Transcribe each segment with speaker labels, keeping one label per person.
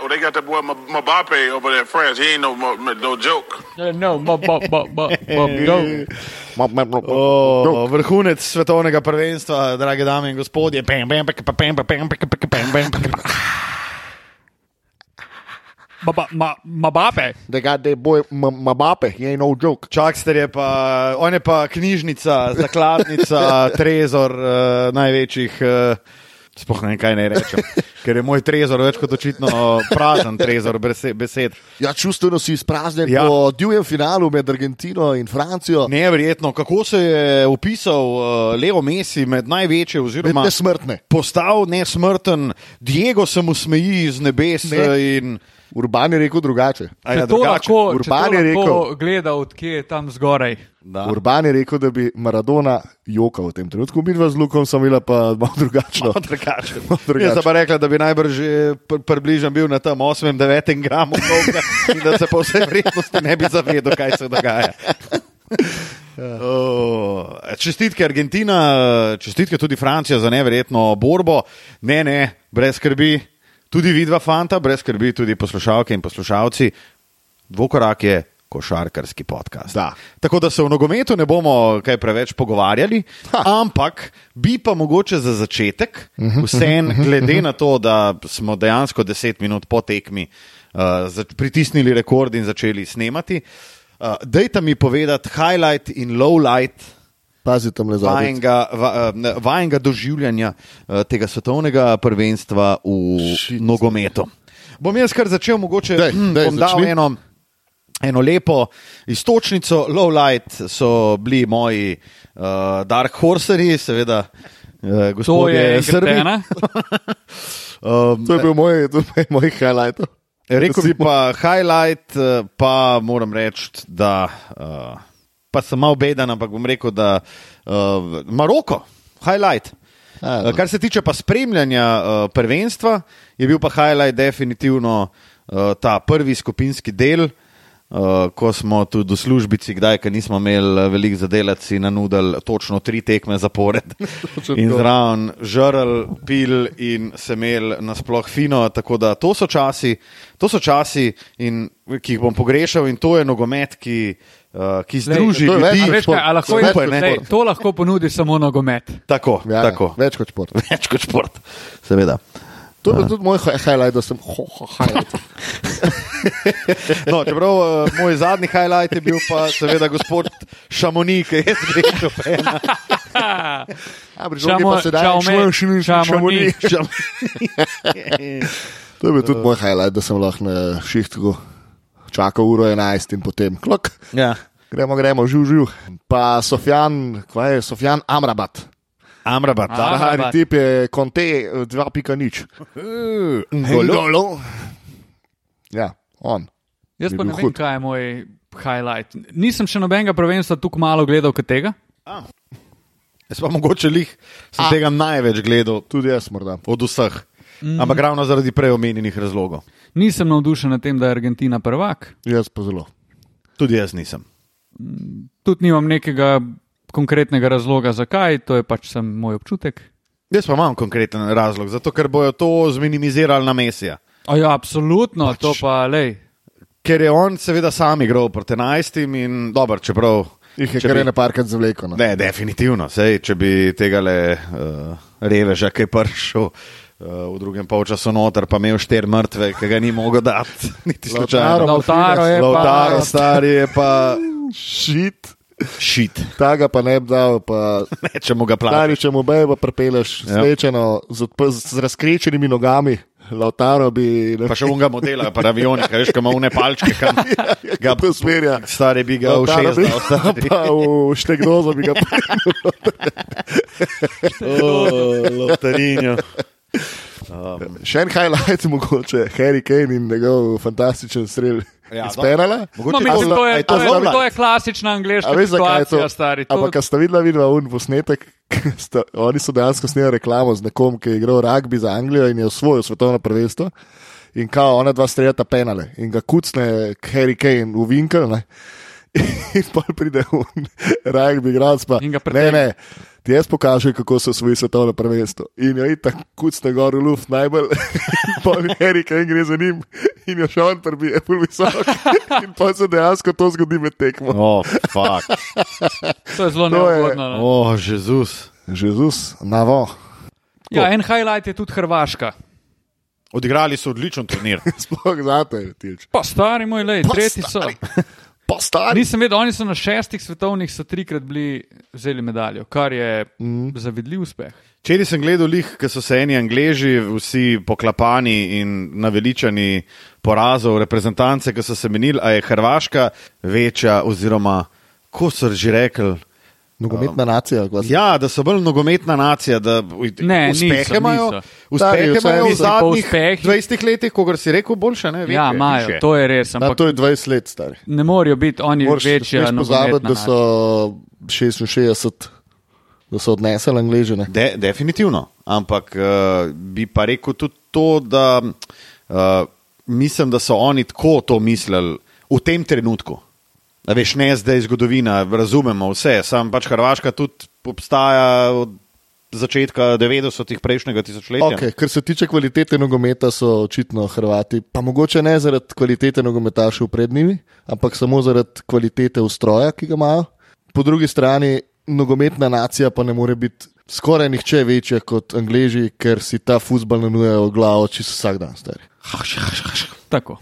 Speaker 1: Oh, They got that boy M- Mbappe over there, France. He ain't no mo- no joke.
Speaker 2: Eh, No, bo, bo, bo, bo, bo, go.
Speaker 3: Oh. O, vrhunec svetovnega prvenstva, drage dame in gospodje. Pem, pem, pek, pa, pem, pa, pem, pek, pek, pem, pem, pek.
Speaker 2: Ba, ba, ma, mabape.
Speaker 4: They got that boy M- Mbappe. He ain't no joke.
Speaker 3: Čakster je pa, on je pa knjižnica, zakladnica, trezor uh, največjih. Uh, Sploh ne vem, kaj naj rečem, ker je moj trezor več kot očitno eh, prazen trezor bese- besed.
Speaker 4: Ja, čustveno si izpraznjen ja.
Speaker 3: Ja.
Speaker 4: po divjem finalu med Argentino in Francijo. Ne.
Speaker 3: Neverjetno, kako se je upisal uh, Leo Messi med največje, oziroma
Speaker 4: Med nesmrtne.
Speaker 3: Postal nesmrten, Diego se mu smeji iz nebes.
Speaker 4: Ne.
Speaker 3: Ne. In,
Speaker 4: Urban je rekel drugače.
Speaker 3: a
Speaker 2: Če to lahko, če to
Speaker 4: Urban je
Speaker 2: lahko gleda, odkje je tam zgoraj.
Speaker 3: Da.
Speaker 4: Urban je rekel, da bi Maradona jokal v tem trenutku, mi dva z Lukom smo bila pa malo drugačno.
Speaker 3: Drugače.
Speaker 4: Malo drugače.
Speaker 3: Jaz sem pa rekla, da bi najbrž eh, pr- približno bil na tem 8-9 gramu dolga in da se po vsej vrednosti ne bi zavedel, kaj se dogaja.
Speaker 4: Ja.
Speaker 3: Oh, čestitke Argentina, čestitke tudi Francija za neverjetno borbo. Ne, ne, brez skrbi, tudi vidva fanta, brez skrbi tudi poslušalke in poslušalci. Dvokorak je košarkarski podcast.
Speaker 4: Da.
Speaker 3: Tako da se v nogometu ne bomo kaj preveč pogovarjali, ha. ampak bi pa mogoče za začetek, vseen, glede na to, da smo dejansko 10 minut po tekmi uh, za- pritisnili rekord in začeli snemati, uh, dajte mi povedati highlight in lowlight.
Speaker 4: Pazi tam le zadnji.
Speaker 3: Vajenga, va, eh, vajenga doživljanja eh, tega svetovnega prvenstva v
Speaker 4: Shit.
Speaker 3: nogometu. Bom jaz kar začel, mogoče hm,
Speaker 4: Daj, daj,
Speaker 3: bom dal
Speaker 4: začni.
Speaker 3: eno, eno lepo istočnico. Low Light so bili moji uh, Dark Horserji, seveda, uh,
Speaker 2: To je
Speaker 3: gospodje Srbi.
Speaker 2: srbena.
Speaker 3: Um,
Speaker 4: To je bil moj, to je bil moj highlight.
Speaker 3: Rekel bi pa highlight, eh, pa moram reči, da uh, pa sem malo beden, ampak bom rekel, da uh, Maroko, highlight.
Speaker 4: Ja,
Speaker 3: Eh, Kar se tiče pa spremljanja uh, prvenstva, je bil pa highlight definitivno uh, ta prvi skupinski del, uh, ko smo tudi v službici, kdaj, ker nismo imeli eh, veliko zadelati, si nanudili točno tri tekme zapored. In zraven žrl, pil in se imel nasploh fino. Tako da to so časi, to so časi in, ki jih bom pogrešal, in to je nogomet, ki, uh, ki
Speaker 2: Glej,
Speaker 3: združi
Speaker 4: to je
Speaker 2: A
Speaker 3: ljudi.
Speaker 4: več
Speaker 2: veš kaj, a lahko
Speaker 4: Več
Speaker 2: je-
Speaker 4: kot šport.
Speaker 2: glej, To lahko ponudi samo nogomet.
Speaker 3: Tako,
Speaker 4: Ja,
Speaker 3: ja, tako.
Speaker 4: Več kot šport.
Speaker 3: Več kot šport, seveda.
Speaker 4: To je bil tudi moj hi- highlight, da sem ho, ho, highlight.
Speaker 3: No, čeprav uh, moj zadnji highlight je bil pa seveda gospod Šamonik, ki je zgrešil ena.
Speaker 4: Ja, pri žogi
Speaker 2: Čamo-
Speaker 4: pa se da
Speaker 2: čao me- čamo ni.
Speaker 4: To je bil
Speaker 3: Eh.
Speaker 4: tudi moj highlight, da sem lahko na šihtku čakal uro 11 in potem klok.
Speaker 3: Ja.
Speaker 4: Gremo, gremo, živ, živ. Pa Sofjan, kaj je Sofjan Amrabat.
Speaker 3: Amrabat, da.
Speaker 2: Amrabat.
Speaker 4: Aha, tip je Conte 2.0.
Speaker 3: Ngolo.
Speaker 4: Golo. Ja, on.
Speaker 2: Jaz
Speaker 4: Bi
Speaker 2: pa
Speaker 4: bil
Speaker 2: ne vem,
Speaker 4: hud.
Speaker 2: kaj je moj highlight. Nisem še nobenega prvenstva tako malo gledal kot tega.
Speaker 3: Jaz pa mogoče lih sem tega največ gledal
Speaker 4: Tudi jaz morda.
Speaker 3: od vseh.
Speaker 4: Mhm.
Speaker 3: Ampak ravno zaradi preomenjenih razlogov.
Speaker 2: Nisem navdušen nad tem, da je Argentina prvak.
Speaker 4: Jaz pa zelo.
Speaker 3: Tudi jaz nisem.
Speaker 2: Tudi nimam nekega konkretnega razloga, zakaj, to je pač sem moj občutek.
Speaker 3: Jaz pa imam konkreten razlog, zato ker bojo to zminimizirali na mesija.
Speaker 2: A ja, absolutno, pač... to pa lej.
Speaker 3: Ker je on seveda sam igral proti enajstim in dober, čeprav.
Speaker 4: Jih je
Speaker 3: če
Speaker 4: kar
Speaker 3: bi-
Speaker 4: ene parkrat no. zavleko. Ne.
Speaker 3: Ne, definitivno. Sej, če bi tega le uh, reveža, ki je prišel uh, v drugem polčasu noter, pa imel štiri mrtve, ki ga ni mogel dati, niti
Speaker 4: Lautaro,
Speaker 3: slučajno.
Speaker 2: Lautaro je
Speaker 3: Lautaro,
Speaker 2: pa.
Speaker 3: stari je pa
Speaker 4: Šit.
Speaker 3: šit.
Speaker 4: Tega pa ne bi dal, pa
Speaker 3: Ne, če mu ga plačaš.
Speaker 4: stari, če mu bej, pa prepeleš
Speaker 3: Ja.
Speaker 4: slečeno, z, odp- z razkrečenimi nogami. Lautaro bi
Speaker 3: Pa še unga modela, pa avioni, kaj veš, kam une palčke, kam ga
Speaker 4: to usmerja.
Speaker 3: Stari bi ga
Speaker 4: Lautaro bi-
Speaker 3: ušel.
Speaker 4: pa v štegnozo bi ga
Speaker 3: Lotarinjo.
Speaker 4: Še en highlight, mogoče Harry Kane in njegov fantastičen strel
Speaker 3: Ja,
Speaker 4: ja, iz penala.
Speaker 2: No,
Speaker 3: Mogoče
Speaker 2: mislim,
Speaker 4: a-
Speaker 2: to,
Speaker 4: a
Speaker 2: je,
Speaker 4: je
Speaker 2: to,
Speaker 4: to
Speaker 2: je,
Speaker 4: zelo-
Speaker 2: to je klasična angliška
Speaker 4: A veš, zakaj je to?
Speaker 2: situacija, stari. To,
Speaker 4: Ampak, kar sta videla, videla un posnetek, ke sta, oni so dejansko snemali reklamo z nekom, ki je igral rugby za Anglijo in je osvojil svetovno prvenstvo. In kao, ona dva streljata penale in ga kucne Harry Kane v vinkel. Ne? in pa pride un rugby igralec. pa,
Speaker 2: In ga
Speaker 4: Ne,
Speaker 2: pretegne."
Speaker 4: ne, ti jaz pokažem, kako so svoji svetovno prvenstvo. In jo je tako kucne gor v luft najbolj, pa Erika in gre za njim. In jo še on prebije, bolj visok. In pa se dejansko to zgodi med tekmo.
Speaker 3: Oh, fuck.
Speaker 2: To je zelo
Speaker 4: To je-
Speaker 2: neugodno. no.
Speaker 3: Oh, Jezus.
Speaker 4: Jezus, navo.
Speaker 2: Ja, en highlight je tudi Hrvaška.
Speaker 3: Odigrali so odličen turnir.
Speaker 4: Sploh zate, tič.
Speaker 2: Pa stari moj, lej,
Speaker 4: Pa
Speaker 2: tretji so.
Speaker 4: stari. Postani.
Speaker 2: Nisem vedel, oni so na šestih svetovnih so trikrat bili vzeli medaljo, kar je
Speaker 4: Mhm.
Speaker 2: mm. zavidljiv uspeh.
Speaker 3: Včeraj sem gledal lih, ki so se eni angleži, vsi poklapani in naveličani porazov reprezentance, ki so se menili, a je Hrvaška večja oziroma ko so že rekli.
Speaker 4: Nogometna nacija, glas.
Speaker 3: Ja, da so bolj nogometna nacija, da
Speaker 2: Ne,
Speaker 3: uspehe
Speaker 2: niso,
Speaker 3: imajo,
Speaker 2: niso.
Speaker 4: Stari,
Speaker 3: uspehe
Speaker 4: vsaj
Speaker 3: imajo v
Speaker 4: niso.
Speaker 2: Po
Speaker 3: zadnjih
Speaker 2: uspehih-
Speaker 3: 20 letih, ko si rekel, boljše. Ne, večje,
Speaker 2: Ja, imajo,
Speaker 3: više.
Speaker 2: to je res,
Speaker 4: Na,
Speaker 2: ampak
Speaker 4: to je 20 let star.
Speaker 2: ne morajo biti oni
Speaker 4: Moraš
Speaker 2: večji.
Speaker 4: ne smeš pozabiti, da so 66, da so odnesli Angleže. ne.
Speaker 3: De, definitivno. Ampak uh, bi pa rekel tudi to, da uh, mislim, da so oni tako to mislili v tem trenutku. A veš, ne zdaj zgodovina, razumemo vse. Sam pač Hrvaška tudi obstaja od začetka 90-ih prejšnjega tisočletja.
Speaker 4: Okay, kar se tiče kvalitete nogometa, so očitno Hrvati. Pa mogoče ne zaradi kvalitete nogometašev pred njimi, ampak samo zaradi kvalitete ustroja, ki ga imajo. Po drugi strani, nogometna nacija pa ne more biti skoraj nihče večja kot Angleži, ker si ta futbol nanujejo glavo čisto vsak dan. Stari.
Speaker 2: Tako.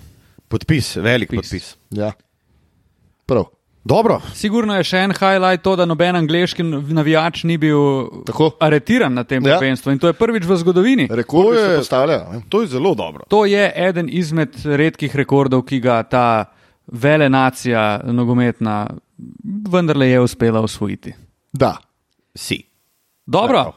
Speaker 3: Podpis, velik podpis. podpis.
Speaker 4: Ja. Prav.
Speaker 3: Dobro,
Speaker 2: Sigurno je še en highlight to, da noben angliški navijač ni bil
Speaker 4: Tako.
Speaker 2: aretiran na tem
Speaker 4: Ja.
Speaker 2: prvenstvu in to je prvič v zgodovini.
Speaker 3: To
Speaker 4: Rekordi
Speaker 3: je-
Speaker 4: se postavljajo. ne.
Speaker 3: to je zelo dobro.
Speaker 2: To je eden izmed redkih rekordov, ki ga ta vele nacija nogometna vendarle je uspela osvojiti.
Speaker 4: Da.
Speaker 3: Si. Ja,
Speaker 2: Dobro,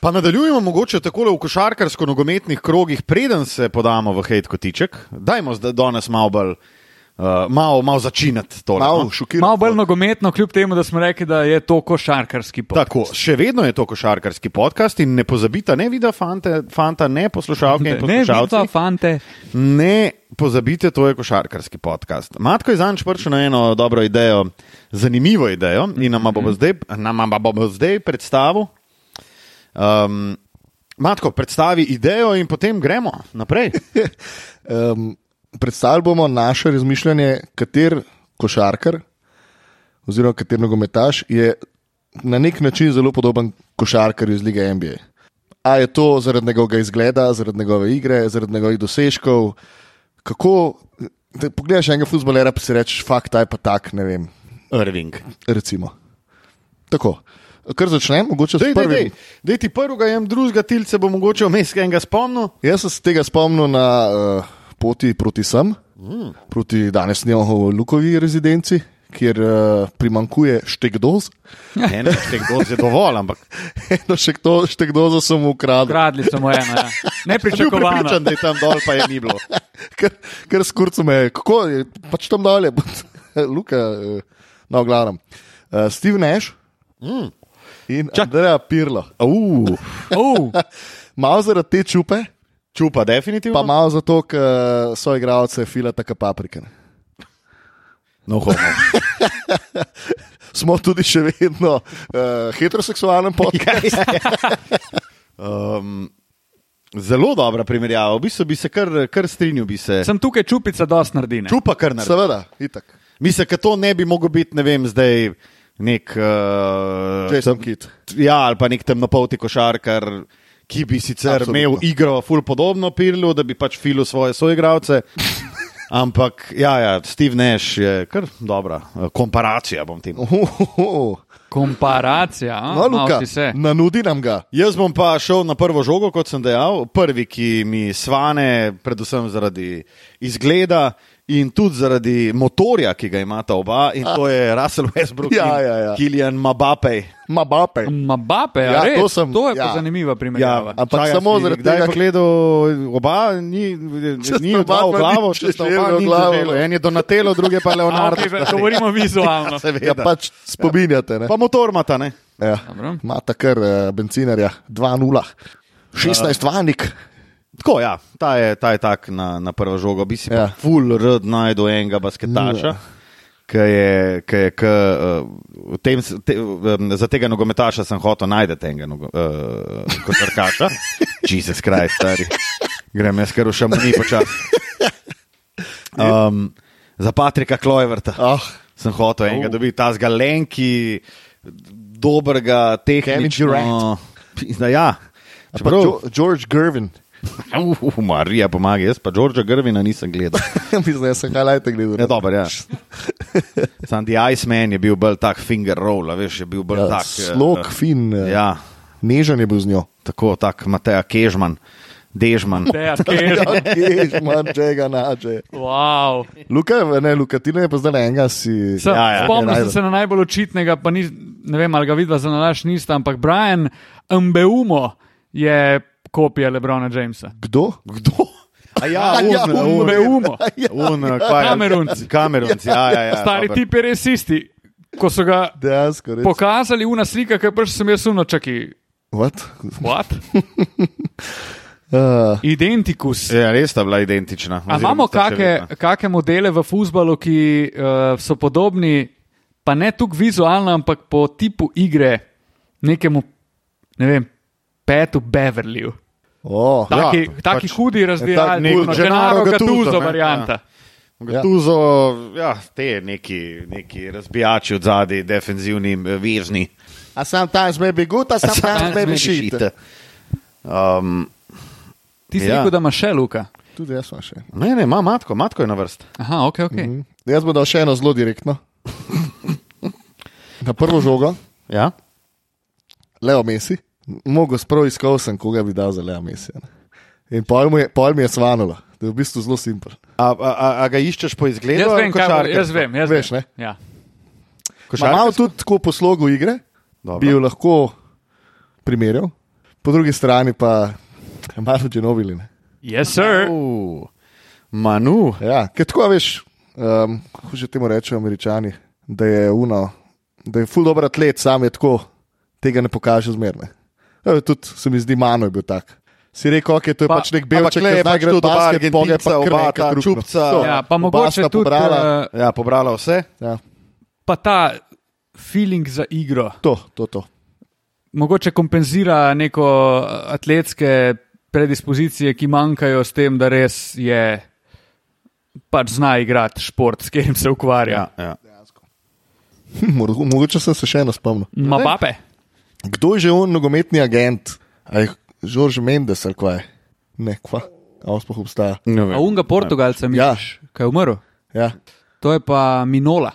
Speaker 3: Pa nadaljujemo mogoče takole v košarkarsko-nogometnih krogih, preden se podamo v hate kotiček. Dajmo zdaj danes malo bolj, uh, malo, malo začinati no. to.
Speaker 4: Mal šokiran.
Speaker 2: malo bolj nogometno, kljub temu, da smo rekli, da je to košarkarski pot.
Speaker 3: Tako, še vedno je to košarkarski podcast in ne pozabite, ne vidi, fanta, fanta, ne poslušalke in
Speaker 2: Ne, vidva,
Speaker 3: poslušalci.
Speaker 2: fante.
Speaker 3: Ne pozabite, to je košarkarski podcast. Matko je zanj šprčil na eno dobro idejo, zanimivo idejo in nam bo zdaj, nam bo bo zdaj predstavil. Um, Matko, predstavi idejo in potem gremo naprej.
Speaker 4: Um, predstavili bomo naše razmišljanje, kater košarkar oziroma kater nogometaš je na nek način zelo podoben košarkarju iz lige NBA. A je to zaradi njegovega izgleda, zaradi njegove igre, zaradi njegovih dosežkov? Kako, da pogledaš enega futbolera, pa si rečeš, fakt, taj pa tak, ne vem.
Speaker 3: Irving.
Speaker 4: Recimo. Tako. Kar začnem, mogoče
Speaker 3: Dej,
Speaker 4: s
Speaker 3: dej,
Speaker 4: prvim.
Speaker 3: dej. dej ti prvega, jem drugega tilce, bo mogoče vmes enega spomnil.
Speaker 4: Jaz sem se tega spomnil na uh, poti proti sem, mm. proti danes njegovi Lukovi rezidenci, kjer uh, primankuje štekdoz.
Speaker 3: Ne, ne, še kdo je dovolj, ampak
Speaker 4: Eno štekdozo sem mu ukradel,
Speaker 2: Kradli samo eno, ja.
Speaker 3: sem bil
Speaker 2: nepričakovano.
Speaker 3: prepričan, da je tam dol, pa je ni bilo.
Speaker 4: ker, ker skurcu me je, kako je, pač tam dalje, Luka, uh, no, glavnem. Uh, Steve Nash mm. in Andreja Pirlo.
Speaker 3: Uh,
Speaker 2: Uh,
Speaker 4: Malo zaradi te čupe,
Speaker 3: čupa,
Speaker 4: pa
Speaker 3: definitivno.
Speaker 4: malo zato, eh, ker so igralce fila taka paprika. Ne.
Speaker 3: No, homo.
Speaker 4: Smo tudi še vedno uh, heteroseksualen podcast.
Speaker 3: Ja, Um, zelo dobra primerjava, v bistvu bi se kar, kar strinjal. Bi se.
Speaker 2: sem tukaj čupica dosti naredine.
Speaker 3: Čupa kar na sebe.
Speaker 4: Seveda, itak.
Speaker 3: Mislim, da to ne bi mogel biti, ne vem, zdaj nek. Uh,
Speaker 4: Jason Kidd.
Speaker 3: ja, ali pa nek temnopolti košarkar, ki bi sicer
Speaker 4: Absolutno.
Speaker 3: Absolutno. imel igro, ful podobno Pirlu, da bi pač filu svoje soigralce. Ampak, ja, ja, Steve Nash je kar dobra eh, komparacija, bom temu.
Speaker 4: Uhuhu.
Speaker 2: Komparacija, a?
Speaker 4: No,
Speaker 2: Malo
Speaker 4: Luka,
Speaker 2: si se.
Speaker 4: nanudi nam ga.
Speaker 3: Jaz bom pa šel na prvo žogo, kot sem dejal, prvi, ki mi svane, predvsem zaradi izgleda in tudi zaradi motorja, ki ga imata oba, in to je Russell Westbrook
Speaker 4: Ja,
Speaker 3: in Ja,
Speaker 4: ja, ja.
Speaker 3: Kilian Mbappej.
Speaker 4: Mabape.
Speaker 2: Mabape,
Speaker 4: Ja,
Speaker 2: ja, res,
Speaker 4: to sem-
Speaker 2: to je
Speaker 4: ja.
Speaker 2: pa zanimiva primerjava.
Speaker 4: ampak samo zaradi
Speaker 3: tega,
Speaker 4: tega,
Speaker 3: da
Speaker 4: ker-
Speaker 3: je gledal oba, ni,
Speaker 4: Če
Speaker 3: ni
Speaker 4: sta
Speaker 3: oba
Speaker 4: oba
Speaker 3: v glavo,
Speaker 4: ni
Speaker 3: če sta
Speaker 4: želel
Speaker 3: oba
Speaker 4: v
Speaker 3: v
Speaker 4: glavo.
Speaker 3: glavo. En je Donatello, drugi pa
Speaker 2: A,
Speaker 3: Leonardo. Ja,
Speaker 2: okay, govorimo vizualno.
Speaker 4: Ja,
Speaker 3: Seveda.
Speaker 4: pač spominjate. ne?
Speaker 3: Pa motor imata, ne?
Speaker 4: Ja.
Speaker 2: Dobro.
Speaker 4: Mata kar uh, bencinarja 2-0. 16 vanik.
Speaker 3: Tako, ja, ta je, ta je tak na, na prvo žogo, bi si
Speaker 4: Ja.
Speaker 3: ja. full rd najdel enega basketaša. ki je, ki je k, uh, v tem, s- te, um, za tega nogometaša sem hotel najti tega nogo- uh, košarkaša. Jezus Krist, stari. Grem jaz kar v šamoni počasi. Um, za Patrika Klojverta
Speaker 4: Ja. Ah. Oh.
Speaker 3: sem hotel enega dobiti, ta zgalenki, dobrega, tehnično.
Speaker 4: Durant.
Speaker 3: Pizda, Ja,
Speaker 4: A pa
Speaker 3: Čeprav-
Speaker 4: Jo- George Gervin.
Speaker 3: Uf, Marija, pomaga, jaz pa Đorđa Grvina nisem gledal.
Speaker 4: Mislim, da sem highlight gledal.
Speaker 3: Ja, dober, ja. Sam The Iceman je bil bolj tak finger roll, a veš, je bil bolj
Speaker 4: Ja,
Speaker 3: tak. eh,
Speaker 4: Slog,
Speaker 3: eh,
Speaker 4: fin, eh,
Speaker 3: Ja,
Speaker 4: nežen je bil z njo.
Speaker 3: tako, tak Mateja Kežman, Dežman.
Speaker 2: Ja, kjer,
Speaker 4: Ješ, manj čega nače.
Speaker 2: wow.
Speaker 4: Luka, ne, Luka, ti ne pa zdaj enega si.
Speaker 2: Sa,
Speaker 3: Ja,
Speaker 2: ja,
Speaker 3: ja.
Speaker 2: ja, spomnil sem
Speaker 4: Najdem.
Speaker 2: se na najbolj očitnega, pa ni, ne vem, ali ga vidva za nalaž nista, ampak Brian Mbeumo je kopija Lebrona Jamesa.
Speaker 4: Kdo?
Speaker 3: Kdo? A ja,
Speaker 4: A ja,
Speaker 3: un,
Speaker 2: Mbeumo.
Speaker 3: un, un, kaj, je-
Speaker 2: Kamerunci.
Speaker 3: Kamerunci, ja, ja. ja
Speaker 2: Stari
Speaker 3: dober.
Speaker 2: tip je res isti. Ko so ga
Speaker 4: Dejansko, res.
Speaker 2: pokazali v naslika, kaj prši sem jaz umno čaki.
Speaker 4: What?
Speaker 2: What?
Speaker 4: Uh,
Speaker 2: Identikus.
Speaker 3: Ja, res sta bila identična.
Speaker 2: A
Speaker 3: oziroma
Speaker 2: imamo
Speaker 3: sta še
Speaker 2: kakšne
Speaker 3: vedno.
Speaker 2: kake modele v futbalu, ki uh, so podobni, pa ne tako vizualno, ampak po tipu igre nekemu, ne vem, Petu Beverlyju.
Speaker 4: oh, ja.
Speaker 2: Taki,
Speaker 3: pač-
Speaker 2: ja, taki hudi
Speaker 4: nek
Speaker 2: razdiralni, kot je
Speaker 4: Gennaro
Speaker 2: Gennaro
Speaker 4: Gattuso,
Speaker 2: Gattuso
Speaker 4: ne?
Speaker 2: varianta.
Speaker 4: Ja.
Speaker 3: Gattuso, ja, te neki, neki razbijači od zadaj, defenzivni, eh, vezni.
Speaker 4: A sometimes maybe good, a sometimes maybe shit.
Speaker 3: Um,
Speaker 2: Ti si ja.
Speaker 3: Ja.
Speaker 2: rekel, da imaš še luka.
Speaker 4: Tudi jaz sem še.
Speaker 3: ne, ne, ima matko, matko je na vrsti.
Speaker 2: Aha, ok, ok. Mm -hmm.
Speaker 4: Jaz bom dal še eno zelo direktno. Na prvo žogo,
Speaker 3: Ja?
Speaker 4: Leo Messi, mogo sprav iskal sem, koga bi dal za Leo Messi. ne. In pol mi je, pol mi je svanula, da je v bistvu zelo simpel.
Speaker 3: A, a, a, a ga iščeš po izgledu?
Speaker 2: Jaz
Speaker 3: ali
Speaker 2: vem, kaj bo-
Speaker 3: košarkarsko?
Speaker 2: jaz vem. Jaz
Speaker 4: Veš,
Speaker 2: vem.
Speaker 4: ne?
Speaker 2: Ja.
Speaker 4: Ma Malo tudi tako po slogu igre,
Speaker 3: Dobro.
Speaker 4: bi jo lahko primerjal, po drugi strani pa malo dženoviline.
Speaker 2: Yes, sir.
Speaker 3: Uh, Manu,
Speaker 4: Ja, ker tako a veš, um, kako že temu rečejo američani, da je uno, da je full dobro atlet, sam je tako, tega ne pokaže zmerne. E, tudi se mi zdi, mano je bil tak. Si rekel, ok, to je
Speaker 2: Pa-
Speaker 4: pač nek
Speaker 3: ampak
Speaker 4: belček,
Speaker 3: le je
Speaker 4: ki
Speaker 3: pač
Speaker 4: zna igrati
Speaker 3: tudi oba
Speaker 4: basket, poge
Speaker 3: Argentinca,
Speaker 4: pa
Speaker 3: oba
Speaker 4: krne,
Speaker 3: ta čupca.
Speaker 2: Ja, pa mogoče tudi
Speaker 4: Pobrala,
Speaker 2: uh,
Speaker 3: ja, pobrala vse.
Speaker 4: ja,
Speaker 2: pa ta feeling za igro.
Speaker 4: to, to, to.
Speaker 2: mogoče kompenzira neko atletske predispozicije, ki manjkajo s tem, da res je. Pač zna igrati šport, s katerim se ukvarja.
Speaker 3: Ja, ja.
Speaker 4: Hm, mor- Mogoče sem se še eno spomnil.
Speaker 2: Ma pape,
Speaker 4: Kdo je že on nogometni agent? A je Žorž Mendes ali kaj? Ne, kva, a on sploh obstaja.
Speaker 3: Ne
Speaker 2: a
Speaker 3: vem.
Speaker 2: unga Portugalca, mi
Speaker 4: Ja.
Speaker 2: jaš, kaj je umrl.
Speaker 4: Ja.
Speaker 2: To je pa Minola,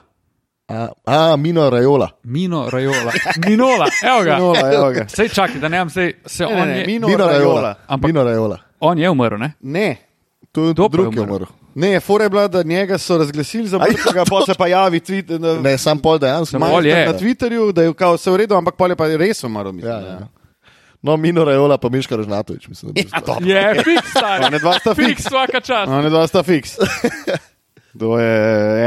Speaker 4: A, a, Mino Rajola.
Speaker 2: Mino Rajola. Minola, evo ga.
Speaker 3: Minola, evo ga.
Speaker 2: Sej čakaj, da ne vem, sej, se
Speaker 3: Ne,
Speaker 2: on,
Speaker 3: ne, ne,
Speaker 2: je,
Speaker 3: Mino
Speaker 4: Mino Rajola.
Speaker 3: Raiola.
Speaker 2: Ampak-
Speaker 4: Mino Rajola.
Speaker 2: on je umrl, ne?
Speaker 3: Ne.
Speaker 4: To je
Speaker 2: Kdo pa je
Speaker 4: drugi
Speaker 2: umrl?
Speaker 4: umrl.
Speaker 3: Ne, fore je bila, da njega so razglasili za mrtvega, pa se pa javi tweet, na,
Speaker 4: Ne, sam pol dejansko.
Speaker 2: Samo pol je.
Speaker 3: na Twitterju, da je kao, vse v redu, ampak pol je pa res umrl. Mislim,
Speaker 4: Ja, ja. No, Mino Rajola pa Miška Režnatovič, mislim.
Speaker 2: Ja,
Speaker 4: da je bil star.
Speaker 2: Je, fiks, stari.
Speaker 3: Ne, dva sta fiks.
Speaker 2: Fiks, vsaka čas.
Speaker 3: No, ne, dva sta fiks. To je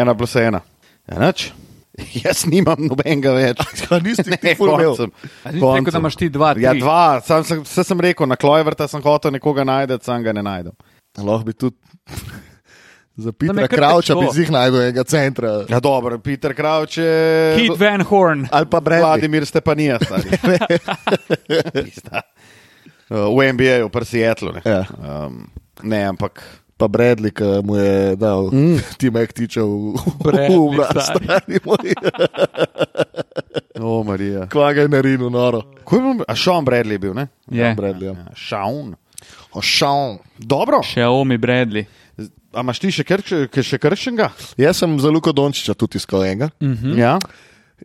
Speaker 3: ena plus ena. Enač? Jaz nimam nobenega več.
Speaker 4: Ja, nisi ti
Speaker 3: Ne,
Speaker 4: ful imel.
Speaker 3: konc sem.
Speaker 2: A nisi rekel,
Speaker 3: Konc
Speaker 2: da
Speaker 3: sem.
Speaker 2: imaš ti dva,
Speaker 3: Ja,
Speaker 2: tri?
Speaker 3: dva. Sam sem, vse sem rekel, na klojvrta sem hotel nekoga najti, sam ga ne najdem.
Speaker 4: Ja, Lahko bi tudi za
Speaker 2: Da
Speaker 4: Petra
Speaker 2: me kar
Speaker 4: Kravča
Speaker 2: težko.
Speaker 4: bi z njih najdel enega centra.
Speaker 3: Ja, dobro, Peter Kravč je.
Speaker 2: Kit Van Horn.
Speaker 4: Ali pa Brad.
Speaker 3: Vladimir Stepanija, stari. Pizda. Uh, v NBA-ju, pri Seattlu. Ne.
Speaker 4: Ja.
Speaker 3: Um, ne, ampak.
Speaker 4: Pa Bradley, ki mu je dal mm. Tim Ektiča v
Speaker 2: Bradley, stari.
Speaker 4: stari moj.
Speaker 3: O, Marija.
Speaker 4: Kva ga je narinil, noro.
Speaker 3: Ko je bil? A Sean Bradley je bil, ne?
Speaker 2: Je,
Speaker 4: Bradley, ja.
Speaker 3: Sean.
Speaker 4: Ošaun.
Speaker 3: Dobro.
Speaker 2: še Omi Bradley.
Speaker 3: Z- A imaš ti še, krč, ke- še kršenga?
Speaker 4: Jaz sem za Luko Dončiča tudi iskal enega.
Speaker 3: Mhm. Ja.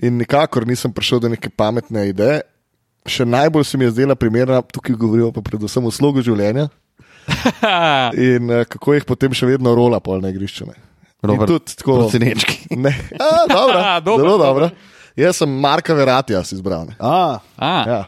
Speaker 4: in nikakor nisem prišel do neke pametne ideje. Še najbolj se mi je zdela primerna, tukaj govorimo pa predvsem o slogu življenja in eh, kako jih potem še vedno rola pol na igrišču. ne. In
Speaker 3: Robert,
Speaker 4: tudi tako.
Speaker 3: Procenečki.
Speaker 4: Ne. A, dobro,
Speaker 2: A, dobro,
Speaker 4: zelo dobro. Jaz sem Marka Veratija si izbral. ne.
Speaker 3: A,
Speaker 2: Ah.
Speaker 4: Ja.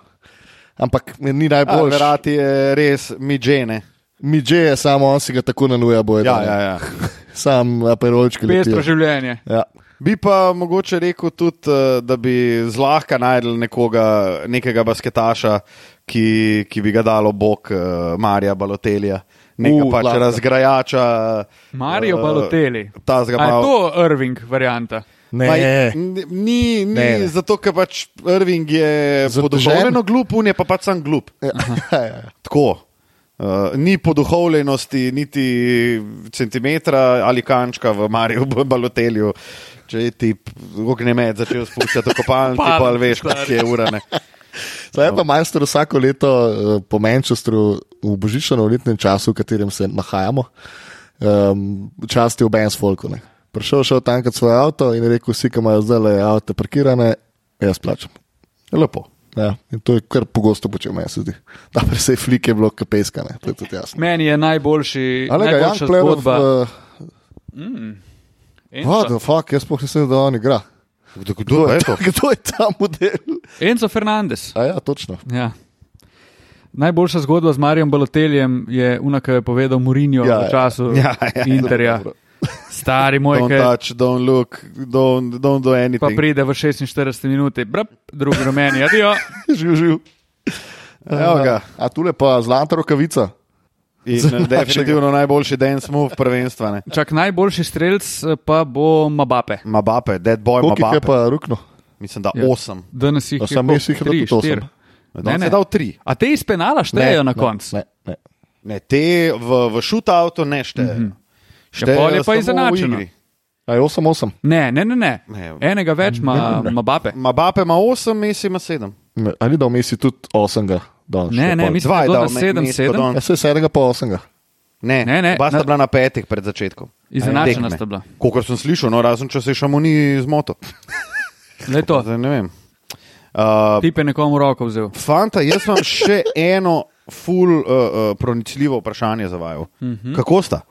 Speaker 4: Ampak mi ni
Speaker 3: a,
Speaker 4: najbolj všeč.
Speaker 3: verjeti je res midžene.
Speaker 4: Midže je samo on si ga tako nanuja boje.
Speaker 3: Ja, ja, ja.
Speaker 4: Sam eh, aperolčki
Speaker 2: Pestro
Speaker 4: letijo.
Speaker 2: življenje.
Speaker 4: Ja.
Speaker 3: Bi pa mogoče rekel tudi, eh, da bi zlahka najdel nekoga, nekega basketaša, ki, ki bi ga dalo bok eh, Marija Balotelija, nekega
Speaker 4: U,
Speaker 3: uh, pač
Speaker 4: zlahka.
Speaker 3: razgrajača.
Speaker 2: Mario Balotelli.
Speaker 3: Eh, Ta zga
Speaker 2: A je
Speaker 3: malo.
Speaker 2: to Irving varianta.
Speaker 4: Ne.
Speaker 3: Ma, n- ni, ni
Speaker 4: Ne, ne.
Speaker 3: zato, ker pač Irving je
Speaker 4: Zadužen.
Speaker 3: poduhovljeno glup, on je pa pač sam glup.
Speaker 4: Ja.
Speaker 3: Ja, Tako. Uh, ni poduhovljenosti, niti centimetra ali kančka v Mariju, v Balotelju. Če je ti ognjemet začel spuščati kopalnik,
Speaker 2: Palen,
Speaker 3: pa veš, kaj je urane.
Speaker 4: Zdaj
Speaker 3: No.
Speaker 4: pa majster vsako leto eh, po Manchesteru v božičnem letnem času, v katerem se nahajamo, um, častil Benz Folko. Ne. Prišel šel tam kot svoje avto in je rekel, vsi, ki imajo zdaj le avto parkirane, jaz plačam.
Speaker 3: Lepo.
Speaker 4: Ja, in to je kar pogosto počel, meni se zdi. Ta presej flik je bilo kapeskane, to je tudi jasno.
Speaker 2: Meni je najboljši,
Speaker 4: Ali ga Jan
Speaker 2: najboljša
Speaker 4: Plevrov,
Speaker 2: zgodba.
Speaker 4: uh, what
Speaker 2: Enzo,
Speaker 4: the fuck, jaz pa nisem vedel, da on igra.
Speaker 3: Kdo, kdo pa je to?
Speaker 4: Kdo je ta model?
Speaker 2: Enzo Fernandez.
Speaker 4: A ja, točno.
Speaker 2: Ja. Najboljša zgodba z Marijem Baloteljem je unaka je povedal Murinjo
Speaker 4: Ja,
Speaker 2: ja, v
Speaker 4: ja.
Speaker 2: času
Speaker 3: Ja,
Speaker 2: ja,
Speaker 3: ja,
Speaker 2: ja, Interja.
Speaker 4: dobro,
Speaker 2: Stari moj,
Speaker 3: Don't
Speaker 2: ki
Speaker 3: touch, don't look, don't, don't do
Speaker 2: pa
Speaker 3: anything.
Speaker 2: pride v 46 minuti, brp, drugi rumeni, adijo.
Speaker 4: Živ, živ.
Speaker 3: Eh,
Speaker 4: Ja,
Speaker 3: Evo ga.
Speaker 4: A tu je pa zlata rokavica.
Speaker 3: In eh, definitivno najboljši dance move prvenstva. Ne?
Speaker 2: Čak najboljši strelc eh, pa bo Mabape.
Speaker 3: Mabape, dead boy,
Speaker 4: Koliko jih je
Speaker 3: Mabape.
Speaker 4: pa rukno?
Speaker 3: Mislim, da
Speaker 2: Ja.
Speaker 3: osem.
Speaker 2: Danes jih
Speaker 4: A
Speaker 2: je
Speaker 4: samo
Speaker 2: koliko?
Speaker 4: jaz jih
Speaker 2: Tri,
Speaker 4: je tudi osem.
Speaker 2: štiri.
Speaker 3: Ne, ne. Dal tri.
Speaker 2: A te iz penala štejejo na koncu?
Speaker 4: Ne, ne.
Speaker 3: Ne, te v, v šutautu ne štejejo. Mm -hmm.
Speaker 2: Mhm. Ja, pol je pa izenačeno.
Speaker 4: A je 8-8.
Speaker 2: Ne, ne, ne, ne.
Speaker 3: Ne.
Speaker 2: Enega več ima Mabape.
Speaker 3: Mabape ima 8, Messi ima 7.
Speaker 4: Ne, Ali da vmesi tudi 8?
Speaker 2: Ne, ne, mislim,
Speaker 3: Dva
Speaker 2: da
Speaker 3: je
Speaker 2: je bilo
Speaker 3: dal
Speaker 2: na
Speaker 3: Me-
Speaker 2: 7,
Speaker 3: Metko
Speaker 2: 7.
Speaker 3: Don.
Speaker 4: Ja, se je 7 pa 8.
Speaker 3: Ne,
Speaker 2: Ne, ne,
Speaker 3: Oba sta
Speaker 2: na-
Speaker 3: bila na petih pred začetkom.
Speaker 2: Izenačena
Speaker 3: Tekme.
Speaker 2: sta bila.
Speaker 3: Kolikor sem slišal, no, razen če se še mu ni zmotil.
Speaker 2: Le to,
Speaker 3: Zdaj ne vem. Uh,
Speaker 2: tip je nekomu roko vzel.
Speaker 3: fanta, jaz imam še eno ful uh, uh, pronicljivo vprašanje za vaju. Mm
Speaker 2: Mhm.
Speaker 3: -hmm. Kako sta?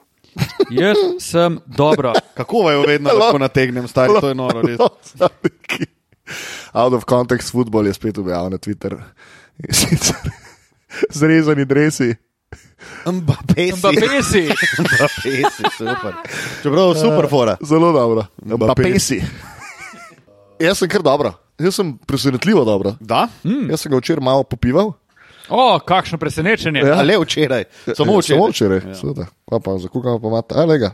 Speaker 2: Jaz sem dobro.
Speaker 3: Kako vaju vedno lahko nategnem, stari, to je
Speaker 4: No,
Speaker 3: noro. Res.
Speaker 4: Out of context football je spet objavil na Twitter. In sicer Zrezani dresi.
Speaker 3: Mbappé, si.
Speaker 2: Mbappe si.
Speaker 3: Mbappé, si, super. Čeprav super fora.
Speaker 4: Zelo dobro. Pa
Speaker 3: Mbappé.
Speaker 4: pesi. Jaz sem kar dobro. Jaz sem presenetljivo dobro.
Speaker 3: Da?
Speaker 4: Mm. Jaz sem ga včeraj malo popival.
Speaker 2: O, kakšno presenečenje.
Speaker 4: Ja.
Speaker 3: Ja. Le včeraj, samo
Speaker 4: Ja,
Speaker 3: včeraj.
Speaker 4: Samo včeraj. Ja. Pa, pa za koga pa imate? A, le ga.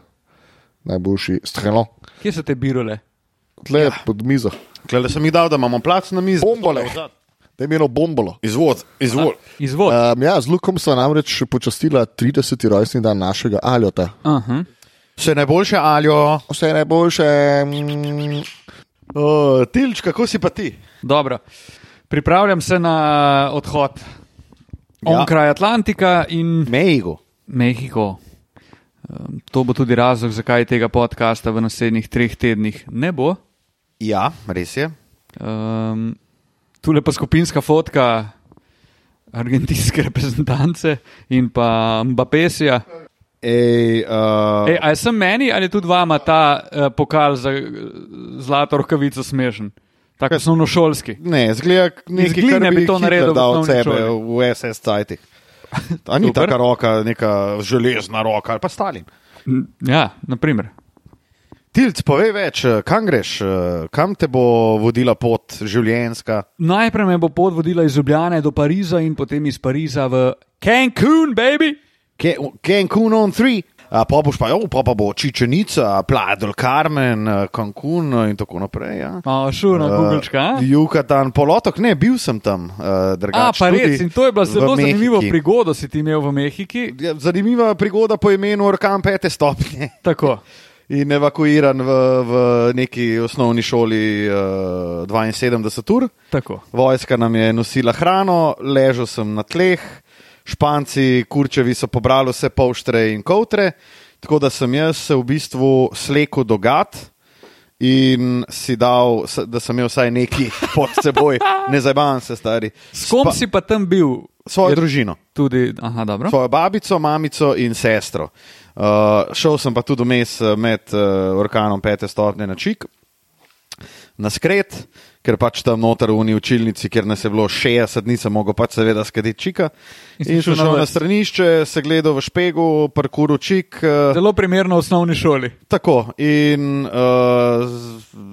Speaker 4: Najboljši strelon.
Speaker 2: Kje so te birole?
Speaker 4: Tle ja. pod mizo.
Speaker 3: Klele sem jih dal, da imamo plac na mizi.
Speaker 4: Bombole. Da je imelo bombolo.
Speaker 3: Izvod, izvod.
Speaker 2: Izvod.
Speaker 4: Um, ja, z Lukom so namreč počastila 30. rojstni dan našega Aljota.
Speaker 2: Aha.
Speaker 3: Še najboljše, Aljo.
Speaker 4: Vse najboljše. mm,
Speaker 3: Uh, Tilč, kako si pa ti?
Speaker 2: Dobro. Pripravljam se na eh, odhod
Speaker 3: Ja.
Speaker 2: onkraj Atlantika in
Speaker 3: Mejgo.
Speaker 2: Mehiko. Um, To bo tudi razlog, zakaj tega podcasta v naslednjih treh tednih ne bo.
Speaker 3: Ja, res je.
Speaker 2: Um, tu je pa skupinska fotka argentinske reprezentance in pa Mbapesija.
Speaker 3: Ej, uh,
Speaker 2: Ej, a je sem meni ali tudi vama ta uh, pokal za eh, zlato rokavico smešen? Tako osnovnošolski.
Speaker 3: Ne, zgleda k-
Speaker 2: Iz
Speaker 3: nekaj,
Speaker 2: gline
Speaker 3: kar
Speaker 2: bi
Speaker 3: bi
Speaker 2: to
Speaker 3: Hitler
Speaker 2: naredil v
Speaker 3: dal od
Speaker 2: osnovni
Speaker 3: sebe
Speaker 2: šoli.
Speaker 3: v SS cajtih. A ni
Speaker 2: Super.
Speaker 3: taka roka, neka železna roka, ali pa Stalin.
Speaker 2: Ja, naprimer.
Speaker 3: Tilc, povej več, eh, kam greš, eh, kam te bo vodila pot življenjska?
Speaker 2: Najprej me bo pot vodila iz Ljubljana do Pariza in potem iz Pariza v Cancun, baby!
Speaker 3: Can- Cancun on 3. Pa boš pa, jo, pa, pa bo Čičenica, Pladel Carmen, eh, Cancun eh, in tako naprej. Ja.
Speaker 2: A, šurno, uh, Googlečka. a?
Speaker 3: Jukatan, polotok, ne, bil sem tam. Uh,
Speaker 2: A, pa res, in to je bila zelo zanimiva prigoda, si ti imel v Mehiki.
Speaker 3: Ja, Zanimiva prigoda po imenu Orkan pete stopnje
Speaker 2: Tako.
Speaker 3: in evakuiran v, v neki osnovni šoli uh, 72 ur.
Speaker 2: Tako.
Speaker 3: Vojska nam je nosila hrano, ležal sem na tleh, španci, kurčevi so pobrali vse polštre in kovtre, tako da sem jaz se v bistvu slekel dogat. In si dal, s- da sem imel vsaj neki pod seboj, ne zabavam se, stari.
Speaker 2: S kom
Speaker 3: Spa-
Speaker 2: si pa tam bil?
Speaker 3: Svojo
Speaker 2: Je
Speaker 3: družino.
Speaker 2: Tudi, aha, dobro.
Speaker 3: Svojo babico, mamico in sestro. Uh, šel sem pa tudi vmes eh, med uh, orkanom pete stopnje na čik, na skret, ker pač tam noter v uni učilnici, kjer nas je bilo 60 dni, sem mogel pač seveda skaditi čika.
Speaker 2: In si
Speaker 3: In
Speaker 2: šel
Speaker 3: šel
Speaker 2: na
Speaker 3: šel na
Speaker 2: vrst.
Speaker 3: stranišče, se gledal v špegu, parkuru čik. eh,
Speaker 2: Zelo primerno v osnovni šoli.
Speaker 3: Tako in uh,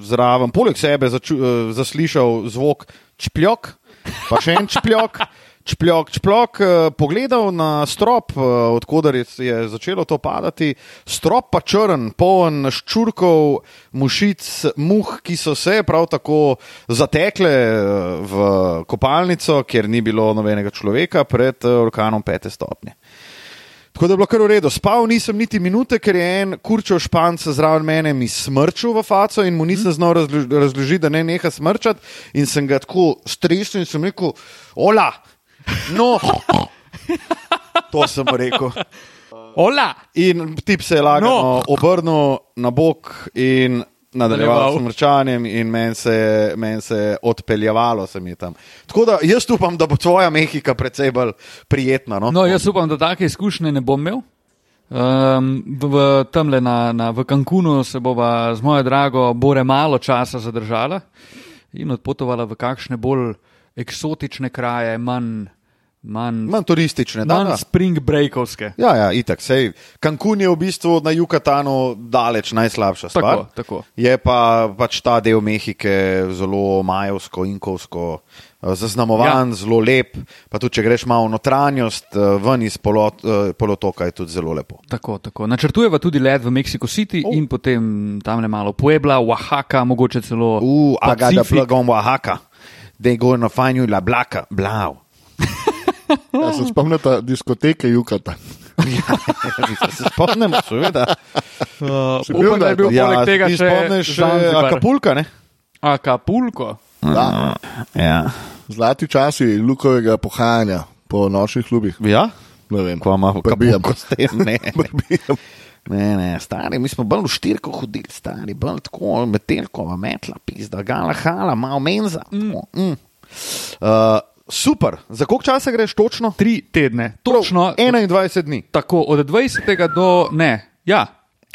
Speaker 3: zraven, eh, poleg sebe, začu, uh, zaslišal zvok čpljok, pa še en čpljok, Čpljok, čpljok, eh, pogledal na strop, eh, odkudar je, je začelo to padati. Strop pa črn, poln ščurkov, mušic, muh, ki so se prav tako zatekle eh, v kopalnico, kjer ni bilo nobenega človeka pred eh, orkanom pete stopnje. Tako da je bilo kar v redu. Spal nisem niti minute, ker je en kurčev španc zraven mene mi smrčil v faco
Speaker 2: Mhm.
Speaker 3: in mu nisem znal razlož- razložiti, da ne neha smrčati. In sem ga tako stresel in sem rekel, ola, no, to sem mu rekel.
Speaker 2: Ola!
Speaker 3: In tip se je lagano no. obrnil na bok in
Speaker 2: Nadaljeval.
Speaker 3: nadaljeval s mrčanjem, in meni se, je- men se je odpeljevalo, sem je tam. Tako da jaz upam, da bo tvoja mehika precej bolj prijetna. No?
Speaker 2: No, jaz upam, da take izkušnje ne bom imel. Um, v tamle na, na, v Cancunu se bova z mojo drago bore malo časa zadržala in odpotovala v kakšne bolj eksotične kraje, manj, manj,
Speaker 3: Manj turistične, da,
Speaker 2: manj
Speaker 3: da.
Speaker 2: spring breakovske.
Speaker 3: Ja, ja, itak. Sej, Cancun je v bistvu na Jukatanu daleč najslabša stvar.
Speaker 2: Tako, tako.
Speaker 3: Je pa pač ta del Mehike zelo majovsko, inkovsko eh, zaznamovan, ja. zelo lep. Pa tudi, če greš malo v notranjost, eh, ven iz polot, eh, polotoka je tudi zelo lepo.
Speaker 2: Tako, tako. Načrtujeva tudi let v Mexico City oh. in potem tam le malo Puebla, Oaxaca, mogoče celo.
Speaker 3: Uh, I got the
Speaker 2: Pacifik.
Speaker 3: plug on Oaxaca. They gonna find you la blaka, blau.
Speaker 4: Ja, se spomnite diskoteke Jukata.
Speaker 3: Ja, se spomnim, seveda.
Speaker 2: Uh,
Speaker 4: Si bil
Speaker 2: upam, da je bil
Speaker 4: kdaj?
Speaker 2: poleg tega
Speaker 3: Ja, ti
Speaker 2: še
Speaker 3: spomniš eh,
Speaker 2: Zanzibar.
Speaker 3: Acapulca, ne?
Speaker 2: Acapulco.
Speaker 4: Da,
Speaker 3: Ja.
Speaker 4: zlati časi Lukovega pohajanja po nočnih klubih.
Speaker 3: ja?
Speaker 4: Ne vem,
Speaker 3: Ko ima
Speaker 4: Prebijem.
Speaker 3: Acapulco s tem, ne.
Speaker 4: Prebijem.
Speaker 3: Ne, ne, stari, mi smo bolj v štirko hodili, stari, bolj tako, metelkova, metla, pizda, gala, hala, malo menza. Mm. Mm. Uh, super, za koliko časa greš točno?
Speaker 2: Tri tedne, točno.
Speaker 3: Prav, 21 dni.
Speaker 2: Tako od 20. do ne. Ja,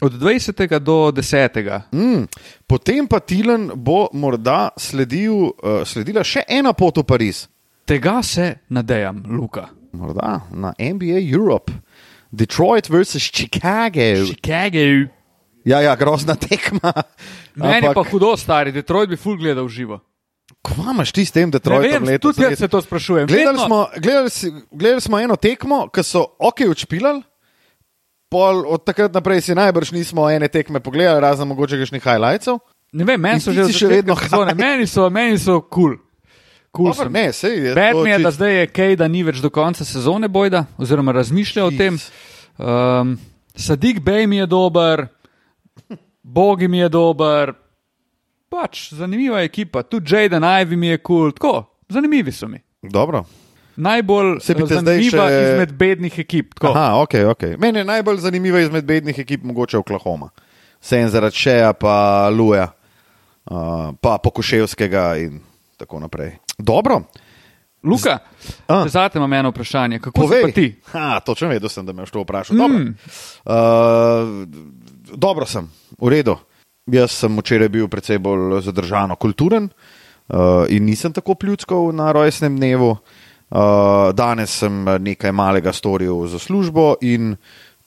Speaker 2: od 20. do 10.
Speaker 3: Mm. Potem pa Tilan bo morda sledil, uh, sledila še ena pot v Pariz,
Speaker 2: Tega se nadejam, Luka.
Speaker 3: morda na NBA Europe. Detroit vs. Chicago.
Speaker 2: Chicago.
Speaker 3: Ja, ja, grozna tekma.
Speaker 2: Meni Ampak... pa
Speaker 3: Ampak,
Speaker 2: hudo, stari, Detroit bi full gledal živo.
Speaker 3: kva imaš ti s tem
Speaker 2: Ne
Speaker 3: Detroitom?
Speaker 2: vem,
Speaker 3: letos?
Speaker 2: tudi jaz se to sprašujem.
Speaker 3: Gledali
Speaker 2: Vedno-
Speaker 3: smo, gledali, si- gledali smo eno tekmo, ki so ok odšpilali, pol od takrat naprej si najbrž nismo ene tekme pogledali, razen mogoče kakšnih highlightsov.
Speaker 2: Ne vem, meni so
Speaker 3: In
Speaker 2: že
Speaker 3: ti si še
Speaker 2: začetka
Speaker 3: vedno
Speaker 2: sezone,
Speaker 3: haj.
Speaker 2: Meni so, meni so kul. Cool.
Speaker 3: Dobar, ne, sej je
Speaker 2: Bed
Speaker 3: to
Speaker 2: mi je, da
Speaker 3: čist-
Speaker 2: zdaj je kaj, da ni več do konca sezone bojda, oziroma razmišlja o tem. Um, Sadik Bej mi je dober, Bogi mi je dober, pač zanimiva ekipa, tudi Jaden Ivy mi je kul, cool. tako, zanimivi so mi.
Speaker 3: Dobro.
Speaker 2: Najbolj
Speaker 3: Se bi
Speaker 2: eh,
Speaker 3: te zdaj
Speaker 2: zanimiva
Speaker 3: še-
Speaker 2: izmed bednih ekip. tako.
Speaker 3: Aha, okay, okay. Meni je najbolj zanimiva izmed bednih ekip mogoče Oklahoma. Sen zaradi Šeja, pa Luja, uh, pa Pokoševskega in tako naprej. Dobro,
Speaker 2: Luka,
Speaker 3: A.
Speaker 2: zate imam eno vprašanje. Kako si pa
Speaker 3: povej
Speaker 2: ti? Hmm.
Speaker 3: Ha, točno vedel sem, da me boš to vprašal. Dobro. Uh, dobro sem, v redu. Jaz sem včeraj bil precej bolj zadržano kulturen uh, in nisem tako pljuckal na rojstnem dnevu. Uh, danes sem nekaj malega storil za službo in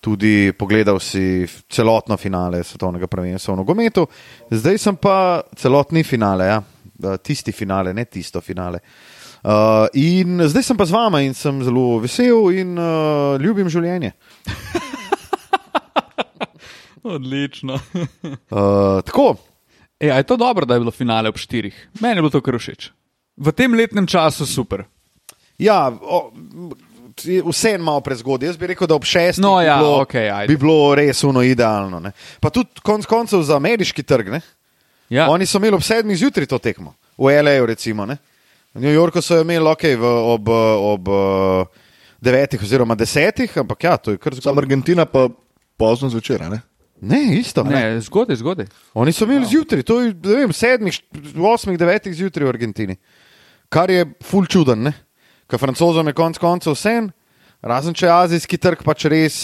Speaker 3: tudi pogledal si celotno finale svetovnega prvenstva v nogometu. Zdaj sem pa celotni finale, ja. Eh, tisti finale, ne tisto finale. Uh, in zdaj sem pa z vama in sem zelo vesel in uh, ljubim življenje.
Speaker 2: Odlično.
Speaker 3: Uh, tako,
Speaker 2: E, a je to dobro, da je bilo finale ob štirih? Meni je bilo to kar všeč. V tem letnem času super.
Speaker 3: ja, o, vse je malo prezgodaj. Jaz bi rekel, da ob šestih
Speaker 2: No, ja,
Speaker 3: bi, bilo,
Speaker 2: okej, ajde.
Speaker 3: bi bilo res uno idealno. Ne? Pa tudi konc koncev za ameriški trg. Ne?
Speaker 2: Ja.
Speaker 3: Oni so imeli ob sedmih zjutraj to tekmo, v L.A.U. recimo. Ne? V New Yorku so jo imeli okay, v, ob, eh, ob eh, devetih oziroma desetih, ampak ja, to je kar
Speaker 4: Sam
Speaker 3: zgodaj.
Speaker 4: Argentina pa pozno zvečer. a ne?
Speaker 3: Ne, isto. Ne.
Speaker 2: Ne, zgodaj, zgodaj.
Speaker 3: Oni so imeli zjutraj, to je ne vem, sedmih, št- osmih, devetih zjutraj v Argentini. Kar je ful čuden, ne? Ker francozom je konec koncev vse, razen če je azijski trg pač res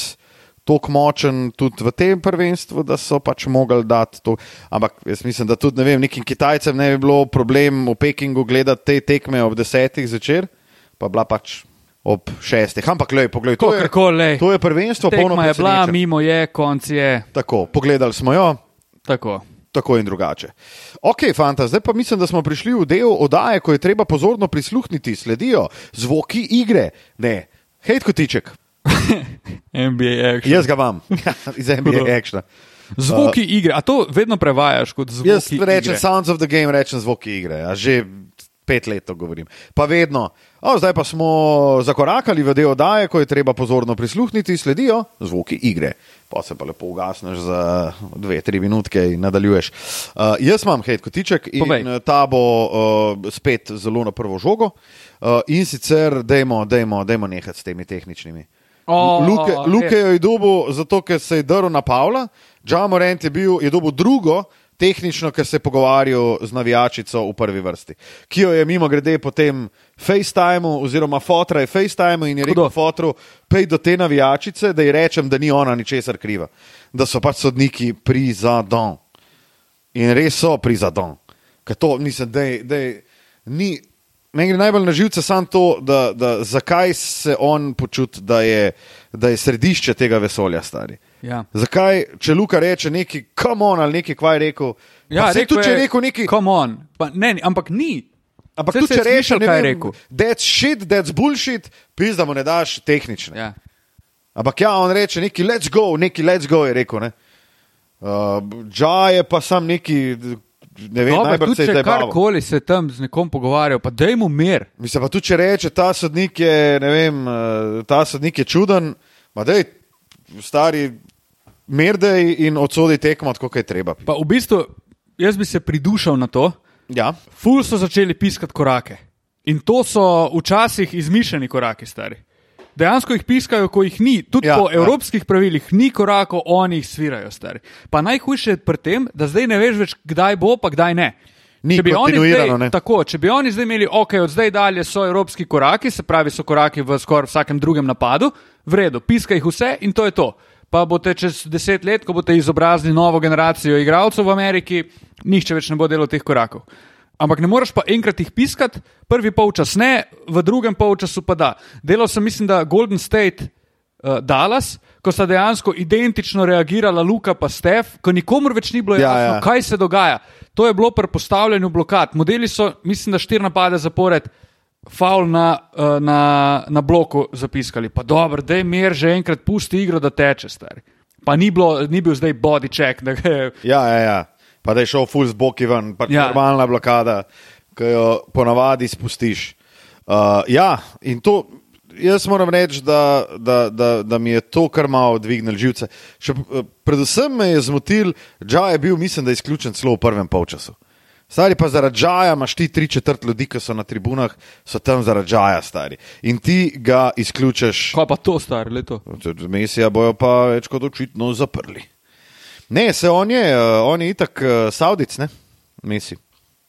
Speaker 3: tako močen tudi v tem prvenstvu, da so pač mogli dati to. Ampak jaz mislim, da tudi ne vem, nekim Kitajcem ne bi bilo problem v Pekingu gledati te tekme ob desetih zvečer, pa bila pač ob šestih. Ampak lej, poglej, to je,
Speaker 2: Kakorkoli, glej.
Speaker 3: to je prvenstvo, polno
Speaker 2: Tekma je bila,
Speaker 3: presenečenj.
Speaker 2: mimo je, konc je.
Speaker 3: Tako, pogledali smo jo.
Speaker 2: Tako.
Speaker 3: tako in drugače. Ok, fanta, zdaj pa mislim, da smo prišli v del oddaje, ko je treba pozorno prisluhniti, sledijo zvoki igre. Ne, hej, kotiček,
Speaker 2: NBA action.
Speaker 3: jaz ga imam, iz NBA action.
Speaker 2: Zvoki uh, igre, a to vedno prevajaš kot zvoki.
Speaker 3: Jaz rečem
Speaker 2: igre.
Speaker 3: Sounds of the Game, rečem zvoki igre. a Že pet let to govorim. Pa vedno. O, zdaj pa smo zakorakali v del oddaje, ko je treba pozorno prisluhniti, sledijo zvoki igre. Pa se pa lepo ugasneš za dve, tri minutke in nadaljuješ. Uh, jaz imam hej kotiček in
Speaker 2: Povej.
Speaker 3: Povej. ta bo uh, spet zelo na prvo žogo. Uh, in sicer, dajmo, dajmo, dajmo nehati s temi tehničnimi.
Speaker 2: O,
Speaker 3: Luke,
Speaker 2: ok.
Speaker 3: Luke jo je dobil zato, ker se je drl na Pavla, Džan Morant je, bil, je dobil drugo, tehnično, ker se je pogovarjal z navijačico v prvi vrsti, ki jo je mimo grede potem FaceTimeu, oziroma Fotra je FaceTimeu in je rekel
Speaker 2: Hudo.
Speaker 3: Fotru, pej do te navijačice, da ji rečem, da ni ona ničesar kriva, da so pač sodniki pri zadon. In res so pri zadon. Ker to mislim, da je. Meni gre najbolj na živce samo to, da, da zakaj se on počuti, da, je- da je središče tega vesolja stari.
Speaker 2: Ja.
Speaker 3: Zakaj, če Luka reče nekaj, kam on ali nekaj, kva je rekel.
Speaker 2: Ja,
Speaker 3: se tudi če je rekel nekaj,
Speaker 2: Come on. Pa, ne, ne, ampak ni.
Speaker 3: ampak
Speaker 2: Saj
Speaker 3: tudi
Speaker 2: se
Speaker 3: če
Speaker 2: je
Speaker 3: reče
Speaker 2: slišal,
Speaker 3: nekaj,
Speaker 2: kaj je rekel.
Speaker 3: That's shit, that's bullshit, pizda mu ne daš tehnične.
Speaker 2: Ja.
Speaker 3: Ampak ja, on reče neki let's go, neki let's go je rekel. Ne? Uh, Džaj je pa sam neki, ne vem,
Speaker 2: Dobar,
Speaker 3: najbrž
Speaker 2: tudi
Speaker 3: se je
Speaker 2: če
Speaker 3: zdaj.
Speaker 2: karkoli se tam z nekom pogovarjal, pa daj mu mir.
Speaker 3: Mislim pa tudi, če reče, ta sodnik je, ne vem, eh, ta sodnik je čuden, ma dej, stari, merdej in odsodi tekmo, tako kot je treba.
Speaker 2: Pa v bistvu, jaz bi se pridušal na to.
Speaker 3: Ja,
Speaker 2: Ful so začeli piskati korake. In to so včasih izmišljeni koraki, stari. Dejansko jih piskajo, ko jih ni. Tudi
Speaker 3: Ja,
Speaker 2: ja, po
Speaker 3: ja.
Speaker 2: ja. evropskih pravilih ni korakov, oni jih svirajo, stari. Pa najhujše je pri tem, da zdaj ne veš več, kdaj bo, pa kdaj ne.
Speaker 3: Ni
Speaker 2: če bi oni
Speaker 3: kontinuirano,
Speaker 2: zdaj,
Speaker 3: ne.
Speaker 2: tako, če bi oni zdaj imeli, ok, od zdaj dalje so evropski koraki, se pravi, so koraki v skoraj vsakem drugem napadu, v redu, piska jih vse in to je to. Pa boste čez deset let, ko boste izobrazili novo generacijo igralcev v Ameriki, nihče več ne bo delal teh korakov. Ampak ne moreš pa enkrat jih piskati, prvi polčas ne, v drugem polčasu pa da. Delal sem, mislim, da Golden State uh, Dallas, ko sta dejansko identično reagirala Luka in Stef, ko nikomur več ni bilo
Speaker 3: Ja,
Speaker 2: jasno, ja,
Speaker 3: ja.
Speaker 2: ja. kaj se dogaja. To je bilo pri postavljanju blokad. Modeli so, mislim, da štiri napade zapored. Faul na, eh, na, na bloku zapiskali, pa dobro, da je mir, že enkrat pusti igro, da teče stari. Pa ni, bilo, ni bil zdaj body check, da ga je
Speaker 3: ja, ja. ja. Pa da je šel full z boki ven, pač ja.
Speaker 2: Ja.
Speaker 3: normalna blokada, ki jo ponavadi spustiš. Uh, ja, in to. Jaz moram reči, da, da, da, da mi je to kar malo dvignilo živce. Še, eh, predvsem me je zmotil, da je bil, mislim, da izključen celo v prvem polčasu. Stari pa zaradi žaja, imaš ti tri četrt ljudi, ki so na tribunah, so tam zaradi žaja, stari. In ti ga izključiš.
Speaker 2: Kaj pa to star, leto.
Speaker 3: Mesija bojo pa več kot očitno zaprli. Ne, se on je, eh, on je itak eh, Saudic, ne, Mesi.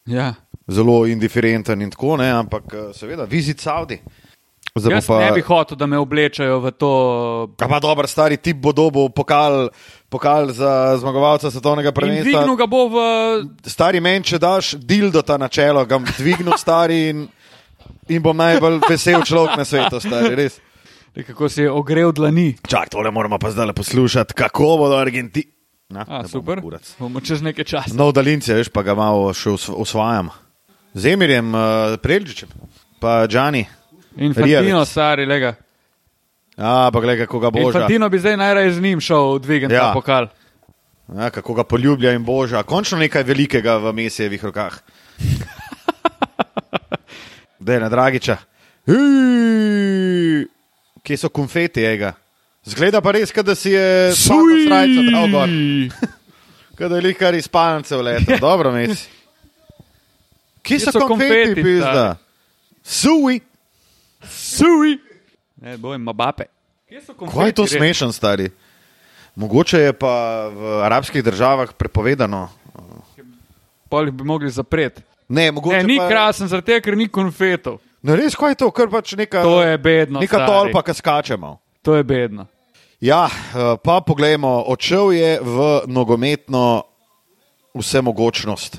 Speaker 2: Ja.
Speaker 3: Zelo indiferenten in tako, ne, ampak eh, seveda, vizit Saudi. Zdaj bo
Speaker 2: Jaz pa... ne bi hotel, da me oblečajo v to.
Speaker 3: A pa dober stari tip bo dobil pokal, pokal za zmagovalca svetovnega
Speaker 2: In
Speaker 3: prvenstva.
Speaker 2: dvignil ga bo v.
Speaker 3: Stari meni, če daš dildo ta načelo, ga bom dvignil stari in, in bom najbolj vesel človek na svetu, stari, res.
Speaker 2: Kako si je ogrel dlani.
Speaker 3: Čak, tole moramo pa zdaj poslušati, kako bodo Argentini.
Speaker 2: A, super. Bomo čez nekaj časa.
Speaker 3: Nov daljince, veš, pa ga malo še osv- osvajam. Z Emirjem, uh, Prelžičem, pa Džani.
Speaker 2: Infantino,
Speaker 3: Rijavec.
Speaker 2: stari, lega.
Speaker 3: A, pa gledaj, kako ga boža.
Speaker 2: Infantino bi zdaj najraje z njim šel dvigniti ja.
Speaker 3: Ja.
Speaker 2: pokal.
Speaker 3: A, Ja, kako ga poljublja in boža. Končno nekaj velikega v mesijevih rokah. Da je na Dragiča. Hej, Kje so konfeti, ega? Zgleda pa res, kot da si je
Speaker 2: Suj!
Speaker 3: srca dal gor. Kaj je lihkar iz pancev leta, dobro mesi. Kje so, so konfeti, konfeti
Speaker 2: konfeti,
Speaker 3: pizda? Suji!
Speaker 2: Suj! Ne, bojem, mabape.
Speaker 3: Kaj je to smešen, stari? Mogoče je pa v arabskih državah prepovedano.
Speaker 2: Polih bi mogli zapreti.
Speaker 3: Ne, mogoče
Speaker 2: Ne, ni
Speaker 3: pa,
Speaker 2: krasen, zaradi tega, ker ni konfetov.
Speaker 3: No, res, kaj je to, kar pač neka,
Speaker 2: To je bedno,
Speaker 3: neka
Speaker 2: stari.
Speaker 3: tolpa, ki skačemo.
Speaker 2: To je bedno.
Speaker 3: Ja, eh, pa poglejmo, odšel je v nogometno vsemogočnost,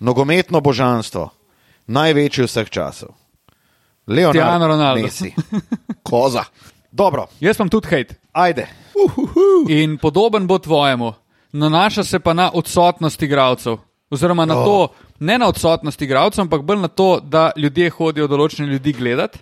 Speaker 3: nogometno božanstvo, največji vseh časov.
Speaker 2: Cristiano
Speaker 3: Leonardo
Speaker 2: Ronaldo.
Speaker 3: Messi, koza. Dobro,
Speaker 2: Jaz imam tudi hejt.
Speaker 3: ajde.
Speaker 2: In podoben bo tvojemu. nanaša se pa na odsotnost igralcev. Oziroma na oh. to, ne na odsotnost igralcev, ampak bolj na to, da ljudje hodijo določene ljudi gledati.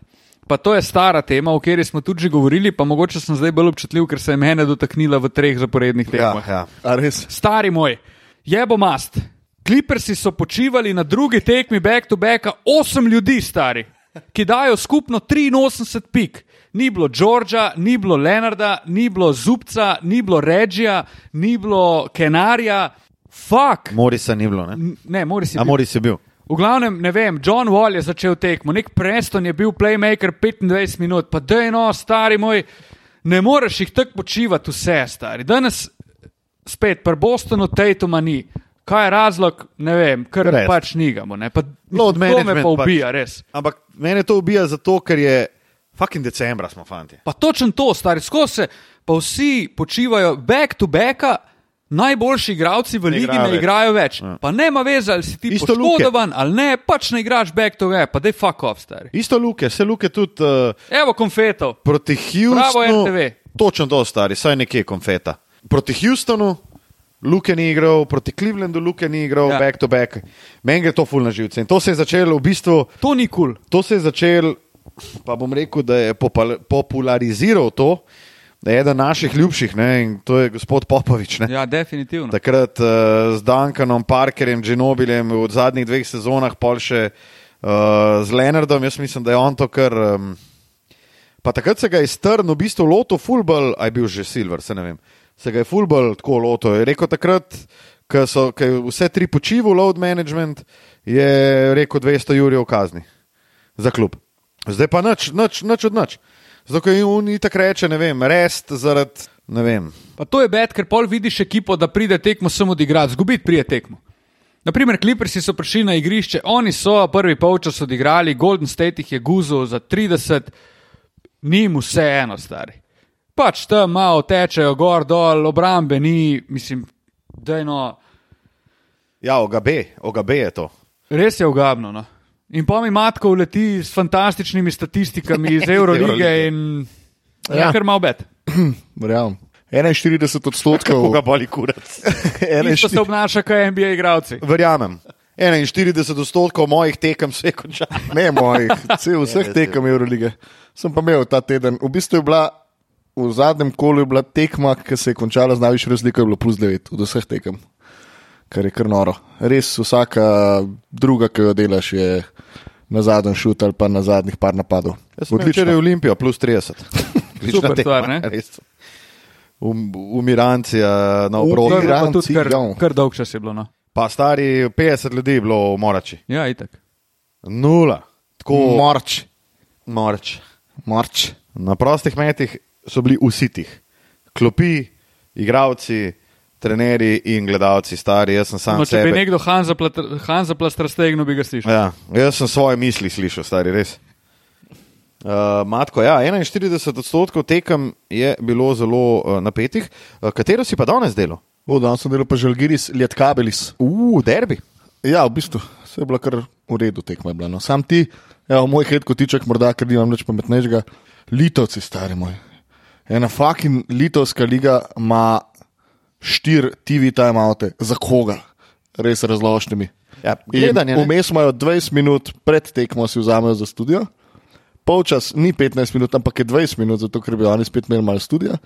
Speaker 2: Pa to je stara tema, o kateri smo tudi že govorili, pa mogoče sem zdaj bolj občutljiv, ker se je mene dotaknila v treh zaporednih
Speaker 3: Ja,
Speaker 2: tekmah.
Speaker 3: ja.
Speaker 4: A res?
Speaker 2: Stari moj, je bo mast. Klipersi so počivali na drugi tekmi back to back, osem ljudi stari, ki dajo skupno 83 pik. Ni bilo Đorđa, ni bilo Lenarda, ni bilo Zubca, ni bilo Režija, ni bilo Kenarja. Fak!
Speaker 3: Morisa ni bilo. Ne?
Speaker 2: Ne, Moris je
Speaker 3: A
Speaker 2: bil.
Speaker 3: Moris je bil.
Speaker 2: V glavnem, ne vem, John Wall je začel tekmo, nek Preston je bil playmaker 25 minut, pa dejno, stari moj, ne moreš jih tako počivati, vse stari. Danes spet, pri Bostonu Tatuma ni. Kaj je razlog, ne vem, ker
Speaker 3: Res.
Speaker 2: res. pač nigamo. Ne? Pa,
Speaker 3: Load
Speaker 2: to me
Speaker 3: management
Speaker 2: pa
Speaker 3: pač.
Speaker 2: ubija, pač. res.
Speaker 3: Ampak mene to ubija zato, ker je fucking decembra smo fanti.
Speaker 2: Pa točno to, stari, skozi se, pa vsi počivajo back to back. Najboljši igralci v ligi
Speaker 3: igrajo
Speaker 2: ne
Speaker 3: več. Ja.
Speaker 2: igrajo več. Pa ne ima veze, ali si ti
Speaker 3: Isto Luke.
Speaker 2: poškodovan ali ne, pač ne igraš back to back, pa dej fuck off, stari.
Speaker 3: Isto luke, vse luke tudi uh,
Speaker 2: Evo konfetov.
Speaker 3: proti Houstonu.
Speaker 2: RTV.
Speaker 3: Točno to stari, saj nekje konfeta. Proti Houstonu. Luke ni igral, proti Clevelandu Luke ni igral,
Speaker 2: Ja.
Speaker 3: ja. back to back. Meni gre to fulna živce. In to se je začelo v bistvu
Speaker 2: To ni kul. Cool.
Speaker 3: To se je začel, pa bom rekel, da je popal- populariziral to, da je eden naših ljubših, ne, in to je gospod Popovič. Ne.
Speaker 2: Ja, definitivno.
Speaker 3: No. Takrat uh, z Dankanom, Parkerjem, Dženobiljem v zadnjih dveh sezonah, pol še uh, z Leonardom, jaz mislim, da je on to kar. Um, pa takrat se ga je strn, v bistvu loto fulbol, a je bil že Silver, se ne vem. Se ga je fulbol tako loto. Je rekel takrat, ko so ko je vse tri počival, load management, je rekel 200 jurjev kazni za klub. Zdaj pa nič, nič, nič od nič. Zato, ker jim ni tako reče, ne vem, rest zaradi, ne vem,
Speaker 2: Pa to je bed, ker pol vidiš ekipo, da pride tekmo samo odigrati, zgubiti pride tekmo. Naprimer, Clippersi so prišli na igrišče, oni so prvi polčas odigrali, Golden State jih je guzil za 30, ni mu vseeno, stari. Pač tam malo tečejo gor, dol, obrambe ni, mislim, da je no,
Speaker 3: Ja, ogabe, ogabe je to.
Speaker 2: res je ogabno. No. In pa mi matko uleti s fantastičnimi statistikami iz Eurolige
Speaker 3: Eurolige.
Speaker 2: in ja.
Speaker 4: Ja.
Speaker 2: kar malo bed.
Speaker 4: Verjamem. 41 odstotkov.
Speaker 3: Koga boli kurac?
Speaker 2: Isto se obnaša, kot NBA igravci.
Speaker 3: Verjamem. 41 odstotkov mojih tekem se je končalo. Ja,
Speaker 4: Ne mojih, cel vseh
Speaker 3: res je.
Speaker 4: tekem Eurolige. Sem pa imel ta teden. V bistvu je bila v zadnjem kolu je bila tekma, ki se je končala z najvišjo razliko, je bilo plus 9 od vseh tekem, kar je kar noro. Res vsaka druga, ki jo delaš, je na zadnjem šut ali pa na zadnjih par napadov.
Speaker 3: Odličen je Olimpijo, plus 30. Odlična
Speaker 2: Super stvar, ne?
Speaker 3: res. Um, umirancija na obrobu.
Speaker 2: To je bilo pa
Speaker 4: Iran,
Speaker 2: tudi kar,
Speaker 4: Cigan.
Speaker 2: kar dolg čas je bilo. No.
Speaker 3: Pa stari 50 ljudi je bilo v Morači.
Speaker 2: Ja, itak.
Speaker 3: Nula. Tako
Speaker 4: Morč,
Speaker 3: Morač.
Speaker 4: morč.
Speaker 3: Na prostih metih so bili vsi tih. Klopi, igravci, trenerji in gledalci, stari. Jaz sem sam
Speaker 2: No, če bi
Speaker 3: sebe.
Speaker 2: nekdo Hanza, plat, Hanza plastra stegnil, bi ga slišal.
Speaker 3: Ja, jaz sem svoje misli slišal, stari res. Uh, matko, ja, 41 odstotkov tekem je bilo zelo uh, napetih. Uh, katero si pa danes delal?
Speaker 4: O, danes sem delal pa žalgiris, lietkabelis.
Speaker 3: Uf, uh, derbi.
Speaker 4: Ja, v bistvu se je bila kar v redu tekma. je Bila, no. Sam ti, evo, moj redko tiček, morda, ker nimam nič pametnejšega, litovci, stari moj. Ena fucking litovska liga ima štiri TV timeoute, za koga, res razložnimi.
Speaker 3: Ja,
Speaker 4: In
Speaker 3: gledanje, ne?
Speaker 4: Vmes imajo 20 minut, pred tekmo si vzamejo za studio. Polčas ni 15 minut, ampak je 20 minut, zato ker bi oni spet imeli malo studija.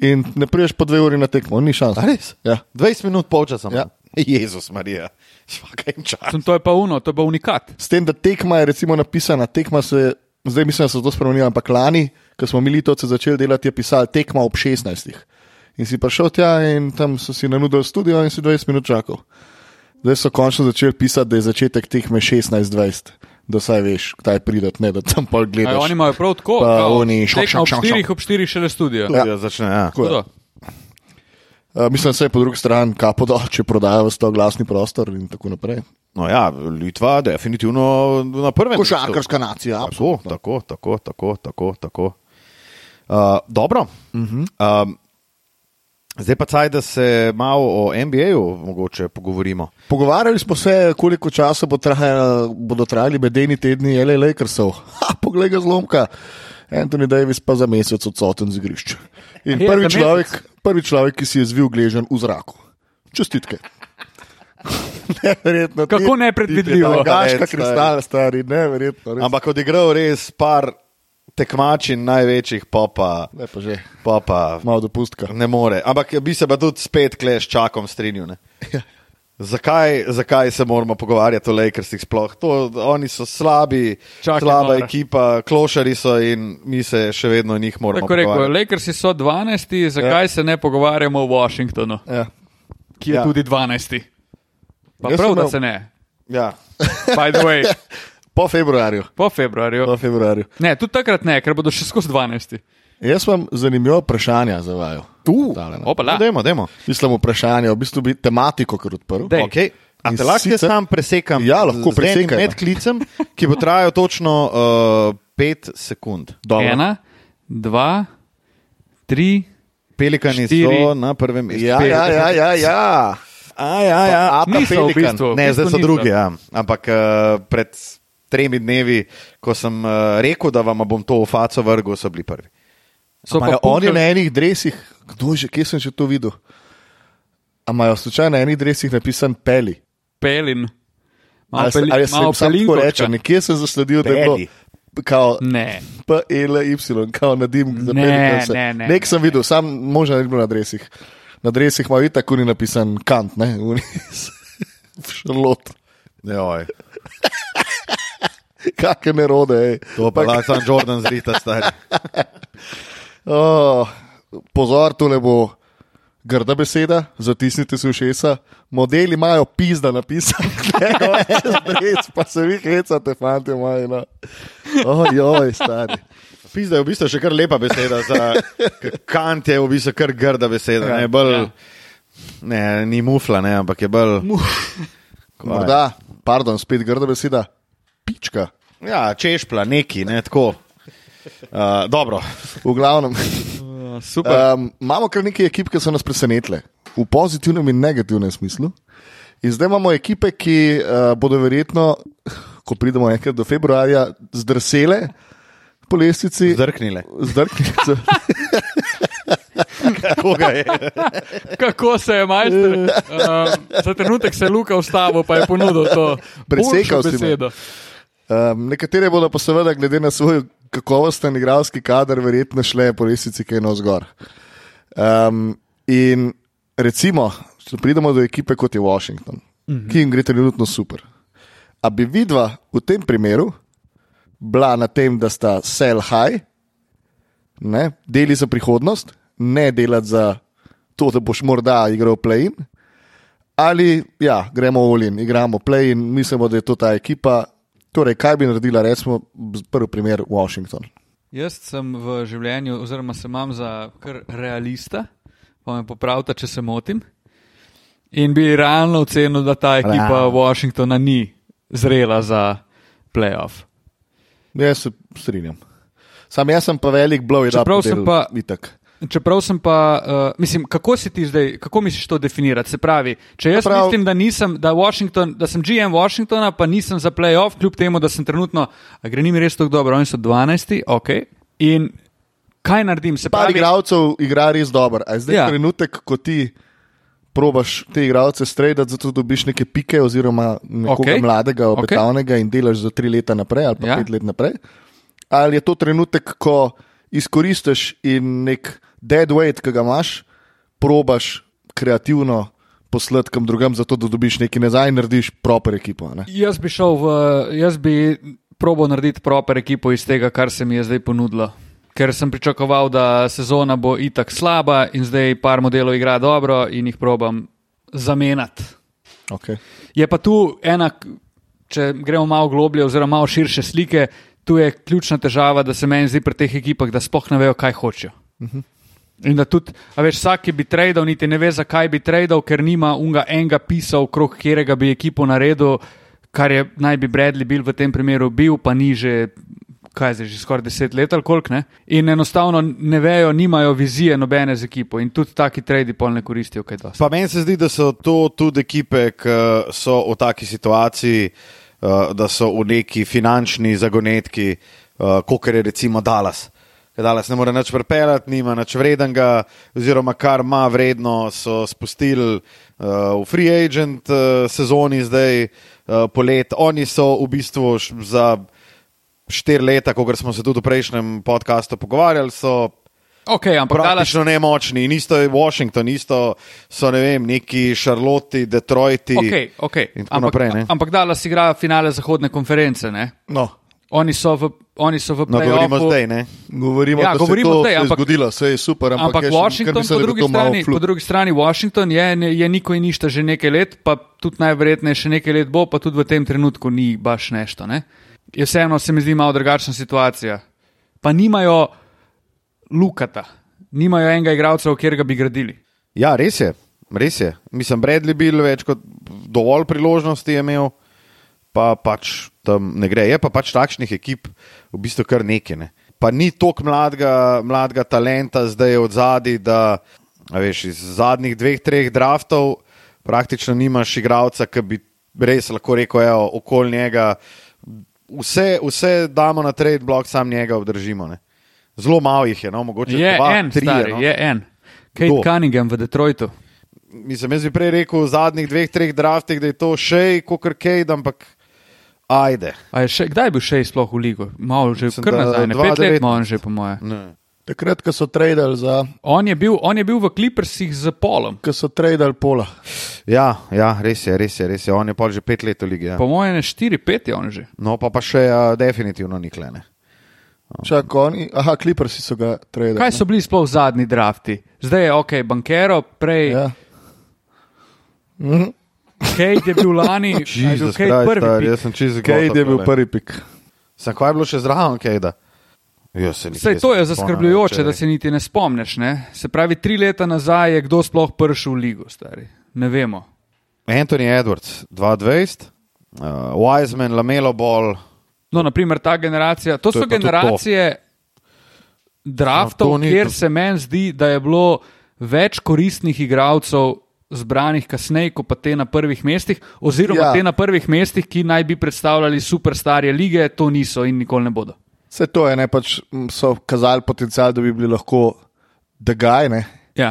Speaker 4: In ne priješ po dve uri na tekmo, ni šans.
Speaker 3: A res?
Speaker 4: Ja.
Speaker 3: 20 minut polčasa.
Speaker 4: Ja.
Speaker 3: Ja. Jezus, Marija, švaka jim čas.
Speaker 2: Sem, to je pa uno, to je pa unikat.
Speaker 4: S tem, da tekma je recimo napisana, tekma se, zdaj mislim, da se je to spremenilo, ampak lani, ko smo mi litovce začeli delati, je pisal tekma ob 16. In si prišel tja in tam so si nanudili studio in si 20 minut čakal. Zdaj so končno začeli pisati, da je začetek tekme 16-20, da saj veš, kdaj pridati, ne da tam pol
Speaker 2: Aj,
Speaker 4: gledaš.
Speaker 2: oni imajo prav tako.
Speaker 4: Pa
Speaker 2: kao,
Speaker 4: oni šok,
Speaker 2: tekma
Speaker 4: šok,
Speaker 2: ob
Speaker 4: šok,
Speaker 2: štirih,
Speaker 4: šok.
Speaker 2: ob štirih šele studio.
Speaker 3: Ja. Ja, začne, ja.
Speaker 4: Tako
Speaker 2: Tako.
Speaker 4: Uh, mislim, da se je po drugi strani kapo dol, če prodajo v 100 glasni prostor in tako naprej.
Speaker 3: No, ja, Litva, definitivno na prvem. mestu.
Speaker 4: Košarkarska nacija,
Speaker 3: Tako,
Speaker 4: absolutno.
Speaker 3: tako, tako, tako. tako, tako. Uh, dobro. Uh
Speaker 4: Mhm.
Speaker 3: -huh. um, zdaj pa caj, da se malo o NBA-ju mogoče pogovorimo.
Speaker 4: Pogovarjali smo se, koliko časa bo traja, bodo trajali bedeni tedni L.A. Lakersov. Ha, poglej ga zlomka. Anthony Davis pa za mesec odsoten z igrišča. In
Speaker 2: Je,
Speaker 4: prvi
Speaker 2: Ja, za
Speaker 4: človek, prvi človek, ki si je zvil gležen v zraku. Čestitke. Neverjetno.
Speaker 2: Kako
Speaker 4: ti-
Speaker 2: nepredvidljivo.
Speaker 4: ti pa Gaška,
Speaker 3: Red, stari.
Speaker 4: kristal, stari, neverjetno. Res.
Speaker 3: Ampak odigral res par tekmačin največjih, pa pa,
Speaker 4: Ne, pa že,
Speaker 3: pa pa
Speaker 4: malo dopustka.
Speaker 3: ne more. Ampak bi se pa tudi spet kleš čakom strinil. ne.
Speaker 2: Ja.
Speaker 3: Zakaj, zakaj se moramo pogovarjati o Lakersih sploh? To, oni so slabi,
Speaker 2: Čak je
Speaker 3: slaba
Speaker 2: nora.
Speaker 3: ekipa, klošari so in mi se še vedno o njih moramo
Speaker 2: Tako rekel,
Speaker 3: pogovarjati.
Speaker 2: Lakersi so 12, zakaj ja. se ne pogovarjamo o Washingtonu,
Speaker 4: Ja.
Speaker 2: ki je
Speaker 3: Ja.
Speaker 2: ja. tudi 12? Pa
Speaker 4: Jaz
Speaker 2: prav,
Speaker 4: sem
Speaker 2: da
Speaker 4: imel-
Speaker 2: se ne.
Speaker 3: Ja.
Speaker 2: By the way,
Speaker 4: Po februarju.
Speaker 2: po februarju.
Speaker 4: Po februarju.
Speaker 2: Ne, tudi takrat ne, ker bodo še skozi 12.
Speaker 4: Jaz imam zanimivo vprašanje za vaju.
Speaker 2: Uh,
Speaker 4: Tale, ne.
Speaker 2: Opala.
Speaker 3: No, dajmo, dajmo.
Speaker 4: Mislim, vprašanje, v bistvu bi tematiko kar odprl.
Speaker 2: Dej.
Speaker 3: Okay. A
Speaker 4: In
Speaker 3: te lahko jaz
Speaker 4: sicer-
Speaker 3: sam presekam?
Speaker 4: Ja, lahko
Speaker 3: z- z enim
Speaker 4: presekaj, no.
Speaker 3: Medklicem, ki bo trajal točno 5 uh, sekund.
Speaker 4: Dobro.
Speaker 2: Ena, dva, tri.
Speaker 3: Pelikani
Speaker 2: Štiri.
Speaker 3: so na prvem mestu.
Speaker 4: Ja, ja, ja, ja, ja.
Speaker 3: A, ja, ja.
Speaker 4: Pa Ata
Speaker 2: Niso v bistvu, v
Speaker 3: ne,
Speaker 2: bistvu
Speaker 3: zdaj
Speaker 2: niso.
Speaker 3: so drugi. Ja. Ampak uh, pred tremi dnevi, ko sem uh, rekel, da vam bom to v faco vrgel, so bili prvi.
Speaker 2: So
Speaker 4: Imajo
Speaker 2: pa
Speaker 4: oni
Speaker 2: punkali-
Speaker 4: na enih dresih, kdo je že, kje sem že to videl? A imajo slučajno na enih dresih napisan peli.
Speaker 2: pelin. Malo
Speaker 4: Ali, se-
Speaker 2: peli-
Speaker 4: ali se
Speaker 2: malo
Speaker 4: jim samo tako
Speaker 2: pelinkovčka.
Speaker 4: reče, nekje sem zasledil, da je bilo
Speaker 3: Peli.
Speaker 4: kao
Speaker 2: Ne.
Speaker 4: PLY, kao na dim, za
Speaker 2: Ne,
Speaker 4: pelikane se.
Speaker 2: ne, ne,
Speaker 4: Nek sem
Speaker 2: ne,
Speaker 4: videl, sam možno ne bi bilo na dresih. Na dresih imajo itak uni napisan kant, ne, uni. Šarlot,
Speaker 3: Joj,
Speaker 4: kakšne nerode. ej.
Speaker 3: to pa lahko sam Jordan zrita stari.
Speaker 4: Oh, pozor, tole bo grda beseda, zatisnite si ušesa. Modeli imajo pizda napisan, res pa se vi hecate, fanti moji. No. Ojoj, stari.
Speaker 3: Pizda je v bistvu še kar lepa beseda, za k- kant je v bistvu kar grda beseda. Ne, bolj, ne, ni mufla, ne, ampak je bolj.
Speaker 4: Morda, pardon, spet grda beseda, pička.
Speaker 3: Ja, češpla, neki, ne tako. Uh, dobro,
Speaker 4: V glavnem,
Speaker 2: Uh, Super.
Speaker 4: um, imamo kar nekaj ekip, ki so nas presenetile, v pozitivnem in negativnem smislu. In zdaj imamo ekipe, ki uh, bodo verjetno, ko pridemo enkrat do februarja, zdrsele po lestvici.
Speaker 3: zdrknile.
Speaker 4: Zdrknice.
Speaker 3: Koga je?
Speaker 2: Kako se je majster? Um, za trenutek se je Luka ustavil, pa je ponudil to. boljšo
Speaker 4: Presekal si me.
Speaker 2: besedo.
Speaker 4: Um, nekatere bodo pa seveda, glede na svoj kakovosten igralski kader, verjetno šle po resnici kaj na zgor. Um, in recimo, če pridemo do ekipe kot je Washington, mm -hmm. ki jim gre trenutno super. A bi vidva v tem primeru bila na tem, da sta sell high, ne, deli za prihodnost, ne delati za to, da boš morda igral play-in. Ali ja, gremo v Olin, igramo play in mislimo, da je to ta ekipa. Torej, kaj bi naredila, recimo, z- prvi primer Washington.
Speaker 2: Jaz sem v življenju, oziroma se imam za kar realista, pa me popravite, če se motim. In bi realno ocenil, da ta ekipa
Speaker 3: Realno.
Speaker 2: Washingtona ni zrela za playoff.
Speaker 4: Jaz se strinjam. Sam jaz sem pa velik blow, da
Speaker 2: Čeprav sem pa-
Speaker 4: Vitek.
Speaker 2: Čeprav sem pa, uh, mislim, kako si ti zdaj, kako misliš to definirati? Se pravi, če jaz
Speaker 4: prav-
Speaker 2: prav... mislim, da nisem, da, Washington, da sem GM Washingtona, pa nisem za playoff, kljub temu, da sem trenutno, a gre njim res tako dobro, oni so 12, ok. In kaj naredim? Se
Speaker 4: Par
Speaker 2: pravi,
Speaker 4: igralcev igra res dobro. A je zdaj je
Speaker 2: Ja.
Speaker 4: ja. trenutek, ko ti probaš te igralce strejdati, zato dobiš neke pike, oziroma nekoga
Speaker 2: Okej.
Speaker 4: okay. mladega,
Speaker 2: Okej.
Speaker 4: obetavnega okay. in delaš za tri leta naprej ali pa ja.
Speaker 2: Ja.
Speaker 4: pet let naprej. Ali je to trenutek, ko izkoristiš in nek dead weight, ki ga imaš, probaš kreativno poslati kam drugam, zato da dobiš nekaj nazaj in narediš proper ekipo. Ne?
Speaker 2: Jaz bi šel v, jaz bi probo narediti proper ekipo iz tega, kar se mi je zdaj ponudilo. Ker sem pričakoval, da sezona bo itak slaba in zdaj par modelov igra dobro in jih probam zamenjati.
Speaker 4: Okay.
Speaker 2: Je pa tu ena, k- če gremo malo globlje, oziroma malo širše slike, tu je ključna težava, da se meni zdi pri teh ekipah, da sploh ne vejo, kaj hočejo. In da tudi, a veš, vsak, ki bi tradil, niti ne ve, zakaj bi tradil, ker nima unga enega pisa, okrog katerega bi ekipo naredil, kar je naj bi Bradley bil v tem primeru bil, pa ni že. Kaj je zdaj, že skoraj deset let ali koliko ne? In enostavno ne vejo, nimajo vizije nobene z ekipo, in tudi taki tradi pol ne koristijo, kaj dosti.
Speaker 3: Pa meni se zdi, da so to tudi ekipe, ki so v taki situaciji, eh, da so v neki finančni zagonetki, eh, kot je recimo Dallas. Eh, Dala se ne more nič prepeljati, nima nič vrednega, oziroma kar ima vredno, so spustili uh, v free agent uh, sezoni, zdaj uh, polet. Oni so v bistvu š- za štiri leta, kot smo se tudi v prejšnjem podkastu pogovarjali, so
Speaker 2: Okay, ampak Dallas,
Speaker 3: praktično nemočni. In isto je Washington, isto so ne vem, neki Šarloti, Detroiti.
Speaker 2: okay, okay.
Speaker 3: in tako
Speaker 2: ampak,
Speaker 3: naprej, ne?
Speaker 2: ampak Dallas igra finale zahodne konference. Ne?
Speaker 4: No,
Speaker 2: Oni so v, oni so v
Speaker 3: No, govorimo
Speaker 2: play-offu.
Speaker 3: zdaj, ne?
Speaker 4: govorimo,
Speaker 2: Ja,
Speaker 4: da
Speaker 2: govorimo
Speaker 4: se to
Speaker 2: zdaj,
Speaker 4: se je
Speaker 2: ampak-
Speaker 4: zgodilo, se je super, ampak,
Speaker 2: Ampak
Speaker 4: jaz kar
Speaker 2: Washington,
Speaker 4: mislim,
Speaker 2: po
Speaker 4: da bi
Speaker 2: drugi,
Speaker 4: to malo
Speaker 2: strani,
Speaker 4: flup.
Speaker 2: po drugi strani, Washington je, ne- je niko in ništa že nekaj let, pa tudi najverjetneje še nekaj let bo, pa tudi v tem trenutku ni baš nešto. Ne? Je vseeno se mi zdi malo drugačna situacija. Pa nimajo lukata, nimajo enega igralca, v katerega bi gradili.
Speaker 3: Ja, res je, res je. Mislim, Bradley bil več kot dovolj priložnosti je imel, pa pač tam ne gre. Je pa pač takšnih ekip v bistvu kar nekaj. Ne. Pa ni toliko mladega, mladega talenta zdaj od zadaj, da a veš, iz zadnjih dveh, treh draftov praktično nimaš igralca, ki bi res lahko rekel, evo, okoli njega. Vse, vse damo na trade blok, sam njega obdržimo. Ne. Zelo malo jih je, no, mogoče
Speaker 2: Je
Speaker 3: dva,
Speaker 2: en,
Speaker 3: trije,
Speaker 2: stari,
Speaker 3: no.
Speaker 2: je en. Kate
Speaker 3: Kdo?
Speaker 2: Cunningham v Detroitu.
Speaker 3: Mislim, jaz bi prej rekel v zadnjih dveh, treh draftih, da je to še kot Kejd, ampak ajde.
Speaker 2: A Je še, kdaj je bil še sploh v ligu? Malo že
Speaker 3: Mislim,
Speaker 2: kar
Speaker 3: da
Speaker 2: nazaj, ne pet let
Speaker 3: 2019.
Speaker 2: ima on že, po moje.
Speaker 3: Ne.
Speaker 4: Takrat, ko so tradili za,
Speaker 2: On je bil, on je bil v Clippersih z Polom.
Speaker 4: ko so tradili pola.
Speaker 3: Ja, ja, res je, res je, res je. On je pol že pet let v ligi. Ja.
Speaker 2: Po mojem, 4-5 je on že.
Speaker 3: No, pa pa še uh, definitivno niklene.
Speaker 4: Čak, oni, aha, kliprsi so ga tradili.
Speaker 2: Kaj so bili sploh zadnji drafti? Zdaj je ok, bankero, prej ja.
Speaker 4: Ja. Mhm.
Speaker 2: Kate je bil lani, a je bil Kate prvi.
Speaker 3: star,
Speaker 2: pik?
Speaker 3: jaz sem čisto
Speaker 4: Kejde je bil prvi pik.
Speaker 3: Sem kaj je bilo še zraven Kejda? Jo, se nikjer
Speaker 2: Sej, to je
Speaker 3: nisem spomnil,
Speaker 2: zaskrbljujoče,
Speaker 3: če-
Speaker 2: da se niti ne spomniš. Ne? Se pravi, tri leta nazaj je kdo sploh prišel v ligo, stari. Ne vemo.
Speaker 3: Anthony Edwards, 2020, uh, Wiseman, Lamelo Ball,
Speaker 2: No, naprimer, ta generacija, to,
Speaker 3: To
Speaker 2: to so
Speaker 3: je pa tudi to.
Speaker 2: generacije draftov, no,
Speaker 3: No, to ni-
Speaker 2: kjer
Speaker 3: to-
Speaker 2: se meni zdi, da je bilo več koristnih igralcev zbranih kasneje, kot pa te na prvih mestih, oziroma ja.
Speaker 4: Ja.
Speaker 2: te na prvih mestih, ki naj bi predstavljali superstarje lige, to niso in nikoli ne bodo.
Speaker 4: Vse to je, ne pač m, so kazali potencial, da bi bili lahko degajne.
Speaker 2: Ja.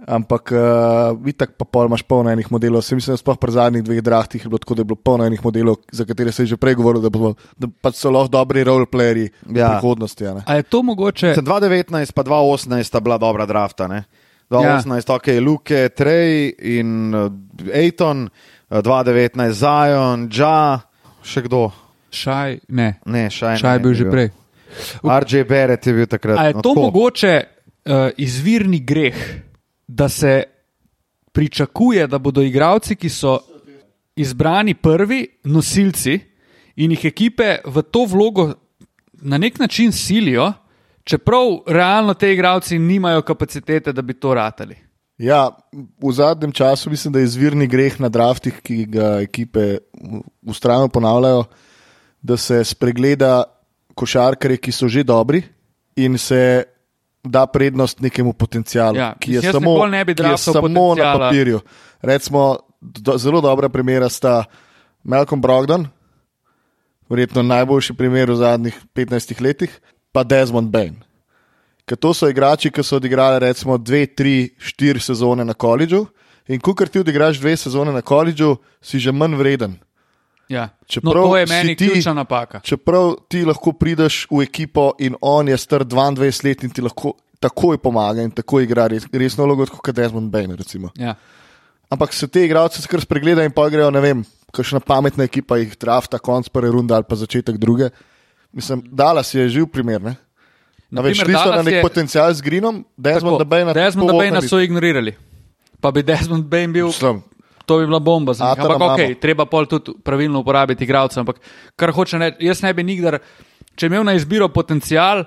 Speaker 4: Ampak uh, vidik pa pol imaš polno enih modelov. Se mislim, da sploh pri zadnjih dveh drahtih je bilo tako, da je bilo polno enih modelov, za katere se je že prej govorilo, da, bomo, da pač so lahko dobri roleplayerji ja.
Speaker 3: Ja.
Speaker 4: v prihodnosti. a ne.
Speaker 2: A je to mogoče?
Speaker 3: Mislim, 2019 pa 2018 sta bila dobra drafta. Ne? 2018, ja. ok, Luke, Trey in uh, Aiton, uh, 2019 Zion, Ja, še kdo.
Speaker 2: Šaj, ne.
Speaker 3: Ne, Shai
Speaker 2: Šaj je
Speaker 3: ne,
Speaker 2: bil
Speaker 3: ni
Speaker 2: že
Speaker 3: bil.
Speaker 2: prej.
Speaker 3: RJ Barrett je bil takrat.
Speaker 2: A je
Speaker 3: no,
Speaker 2: to
Speaker 3: tako.
Speaker 2: mogoče uh, izvirni greh, da se pričakuje, da bodo igralci, ki so izbrani prvi, nosilci in jih ekipe v to vlogo na nek način silijo, čeprav realno te igralci nimajo kapacitete, da bi to ratali.
Speaker 4: Ja, v zadnjem času mislim, da je izvirni greh na draftih, ki ga ekipe ustrajno ponavljajo, da se spregleda košarkarje, ki so že dobri in se da prednost nekemu potencialu,
Speaker 2: Ja,
Speaker 4: ki je
Speaker 2: jaz
Speaker 4: samo,
Speaker 2: nikoli ne bi
Speaker 4: ki je
Speaker 2: draftal
Speaker 4: samo na
Speaker 2: potenciala.
Speaker 4: papirju. Recimo, do, zelo dobra primera sta Malcolm Brogdon, verjetno najboljši primer v zadnjih 15 letih, pa Desmond Bain. Ker to so igrači, ki so odigrali recimo dve, tri, štiri sezone na koledžu. In ko ti odigraš dve sezone na koledžu, si že manj vreden.
Speaker 2: Ja. No,
Speaker 4: Čeprav
Speaker 2: to je
Speaker 4: si
Speaker 2: meni
Speaker 4: ti-
Speaker 2: ključna napaka.
Speaker 4: Čeprav ti lahko prideš v ekipo in on je star 22 let in ti lahko takoj pomaga in tako igra res, resno vlogo, kot je Desmond Bain. Recimo.
Speaker 2: Ja.
Speaker 4: Ampak se te igralce skrbno spregleda in pa grejo, ne vem, kakšna pametna ekipa jih drafta, konc prve runde ali pa začetek druge. Mislim, Dallas je živ primer. Ne? Na veš,
Speaker 2: Naprimer,
Speaker 4: šli so na
Speaker 2: Dallas
Speaker 4: nek
Speaker 2: je-
Speaker 4: je... potencial z Greenom, Desmond Bain.
Speaker 2: Desmond Bain so ignorirali. Pa bi Desmond Bain bil.
Speaker 4: Mislim,
Speaker 2: To bi bila bomba za njih.
Speaker 4: Atana
Speaker 2: Ampak ok,
Speaker 4: imamo.
Speaker 2: treba pol tudi pravilno uporabiti igralce. Ampak kar hoče reči, jaz ne bi nikdar, če imel na izbiro potencial,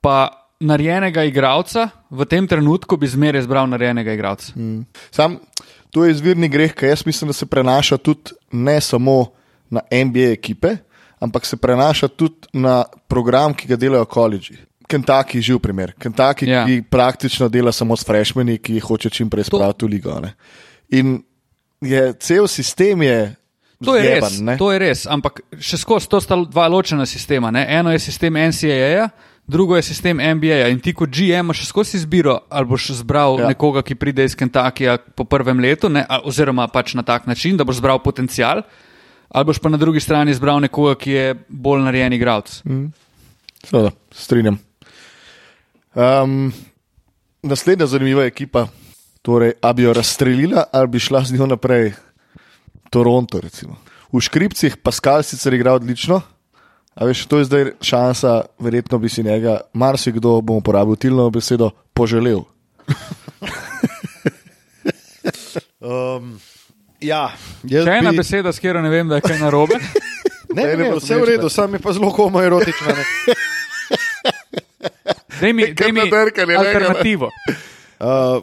Speaker 2: pa narejenega igralca, v tem trenutku bi zmeraj izbral narejenega igralca. Mm.
Speaker 4: Sam to je izvirni greh, ki jaz mislim, da se prenaša tudi ne samo na NBA ekipe, ampak se prenaša tudi na program, ki ga delajo koledži. Kentucky je živ primer. Kentucky,
Speaker 2: Ja.
Speaker 4: ja. ki praktično dela samo s freshmeni, ki jih hoče čim prej spraviti v ligo. Ne. In je cel sistem je.
Speaker 2: To je,
Speaker 4: zjeban,
Speaker 2: res,
Speaker 4: ne.
Speaker 2: to je res, ampak še skozi to sta dva ločena sistema. Ne? Eno je sistem NCAA, drugo je sistem NBA. -ja. In ti kot GM imaš še skozi izbiro, ali boš zbral ja.
Speaker 4: Ja.
Speaker 2: nekoga, ki pride iz Kentuckyja po prvem letu, ne, a- oziroma pač na tak način, da boš zbral potencial, ali boš pa na drugi strani zbral nekoga, ki je bolj narejen igralec.
Speaker 4: Seveda, strinjam. Um, naslednja zanimiva ekipa, torej, ali bi jo razstrelila ali bi šla z njo naprej. Toronto, recimo. V škripcih Pascal sicer igra odlično, a veš, to je zdaj šansa, verjetno bi si njega, marsikdo bom uporabil tilno besedo, poželel.
Speaker 3: Um, ja, jaz
Speaker 2: Še ena
Speaker 3: bi-
Speaker 2: beseda, s katero ne vem, da je kaj narobe.
Speaker 3: Ne, ne, ne, vse v redu, sam je pa zelo homoerotična. ne.
Speaker 2: Dej mi, dej mi
Speaker 4: nabrkanje, ne, kaj-
Speaker 2: alternativo.
Speaker 3: Uh,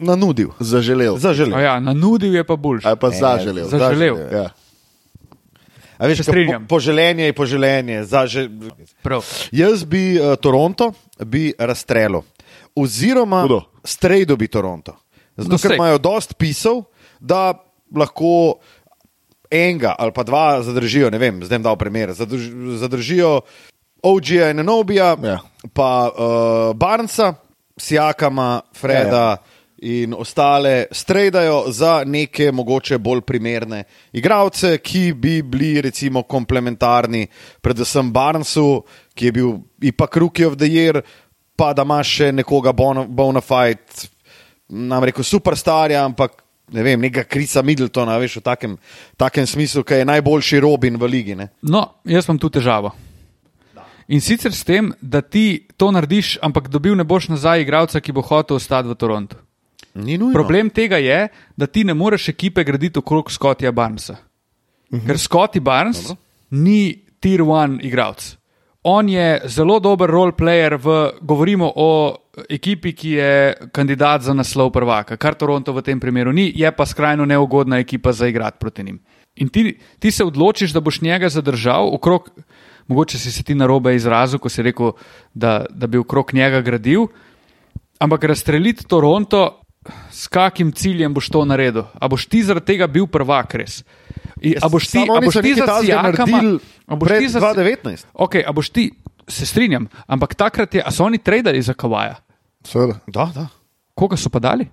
Speaker 3: nanudil,
Speaker 4: Zaželel.
Speaker 2: O
Speaker 3: zaželel.
Speaker 2: Ja, nanudil je pa boljši.
Speaker 4: Ali pa
Speaker 3: E,
Speaker 4: zaželel.
Speaker 2: zaželel.
Speaker 4: Ja.
Speaker 3: A veš,
Speaker 2: se
Speaker 3: ka
Speaker 2: strinjam.
Speaker 3: po, poželenje je poželenje. Zaže...
Speaker 2: Prav.
Speaker 3: Jaz bi uh, Toronto bi razstrelil, oziroma
Speaker 4: Hudo.
Speaker 3: strejdo bi Toronto. Zato,
Speaker 2: No,
Speaker 3: ker
Speaker 2: saj.
Speaker 3: imajo dost pisal, da lahko enega ali pa dva zadržijo, ne vem, zdaj bom dal primer. Zadrž, zadržijo OG-ja in Nobija,
Speaker 4: Ja.
Speaker 3: pa uh, Barnsa, Sjakama, Freda. In ostale strejdajo za neke mogoče bolj primerne igralce, ki bi bili recimo komplementarni, predvsem Barnesu, ki je bil ipak Rookie of the Year, pa da imaš še nekoga bona- bona fide, nam rekel, superstarja, ampak ne vem, nekega Krisa Middletona, veš, v takem, takem smislu, ki je najboljši Robin v ligi. Ne?
Speaker 2: No, jaz imam tu težavo. In sicer s tem, da ti to narediš, ampak dobil ne boš nazaj igralca, ki bo hotel ostati v Torontu.
Speaker 3: Ni nujno.
Speaker 2: Problem tega je, da ti ne moreš ekipe graditi okrog Scottija Barnesa. Ker Scotty Barnes Dobro. ni tier one igralec. On je zelo dober roleplayer, v, govorimo o ekipi, ki je kandidat za naslov prvaka, kar Toronto v tem primeru ni, je pa skrajno neugodna ekipa za igrati proti njim. In ti, ti se odločiš, da boš njega zadržal, okrog, mogoče si se ti narobe izrazil, ko si rekel, da, da bi okrog njega gradil, Ampak razstreliti Toronto, s kakim ciljem boš to naredil? A boš ti zaradi tega bil prvak res? I, a boš ti,
Speaker 3: Samo
Speaker 2: a
Speaker 3: oni
Speaker 2: boš
Speaker 3: so
Speaker 2: ti
Speaker 3: nekaj
Speaker 2: za
Speaker 3: takega
Speaker 2: Sijakama,
Speaker 3: naredili
Speaker 2: a boš
Speaker 3: pred
Speaker 2: ti za
Speaker 3: 2019.
Speaker 2: Ok, a boš ti, se strinjam, ampak takrat je, a so oni tradali za Kavaja?
Speaker 4: Seveda,
Speaker 3: Da, da,
Speaker 2: Koga so pa dali?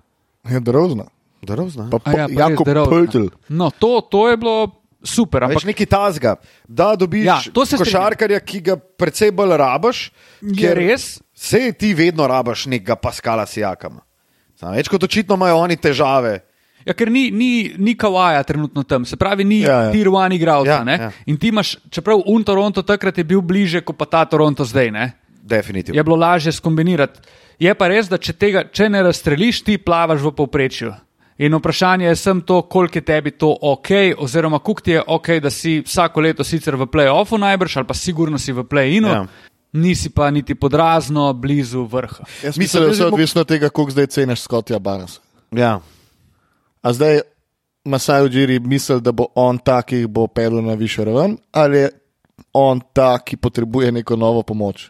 Speaker 4: je derozna.
Speaker 3: da rozna.
Speaker 4: Pa,
Speaker 2: A
Speaker 4: pa, ja,
Speaker 2: ja,
Speaker 4: pa
Speaker 2: pa res
Speaker 4: Jakob
Speaker 2: DeRozan.
Speaker 4: Pöltl.
Speaker 2: No, to, to je bilo super,
Speaker 3: Pač
Speaker 2: ampak
Speaker 3: nekaj tazga, da dobiš
Speaker 2: Ja,
Speaker 3: ja,
Speaker 2: to se strinjam.
Speaker 3: košarkarja, ki ga precej bolj rabaš.
Speaker 2: Je
Speaker 3: ker
Speaker 2: res?
Speaker 3: Sej ti vedno rabaš nekega Paskala Sijakama. Samo več kot očitno imajo oni težave.
Speaker 2: Ja, ker ni, ni, ni Kawaja trenutno tam, se pravi, ni ja,
Speaker 4: Ja,
Speaker 2: ja.
Speaker 4: ja.
Speaker 2: tier one igralca.
Speaker 3: Ja,
Speaker 2: Ja, ja.
Speaker 3: ja.
Speaker 2: In ti imaš, čeprav un Toronto takrat je bil bliže kot pa ta Toronto zdaj. Ne?
Speaker 3: Definitivno.
Speaker 2: je bilo lažje skombinirati. Je pa res, da če, tega, če ne razstreliš, ti plavaš v povprečju. In vprašanje je sem to, koliko je tebi to ok, oziroma koliko ti je ok, da si vsako leto sicer v play-offu najbrž, ali pa sigurno si v play-inu, ja.
Speaker 3: Ja.
Speaker 2: nisi pa niti podrazno blizu vrha.
Speaker 4: Jaz
Speaker 3: Mislim,
Speaker 4: mislim, da
Speaker 3: da
Speaker 4: je vse
Speaker 3: bi mo-
Speaker 4: odvisno od tega, koliko zdaj ceniš Scottija Barnes.
Speaker 3: Ja.
Speaker 4: A zdaj Masaj Ođiri misli, da bo on ta, ki jih bo pedel na višjo raven, ali je on ta, ki potrebuje neko novo pomoč.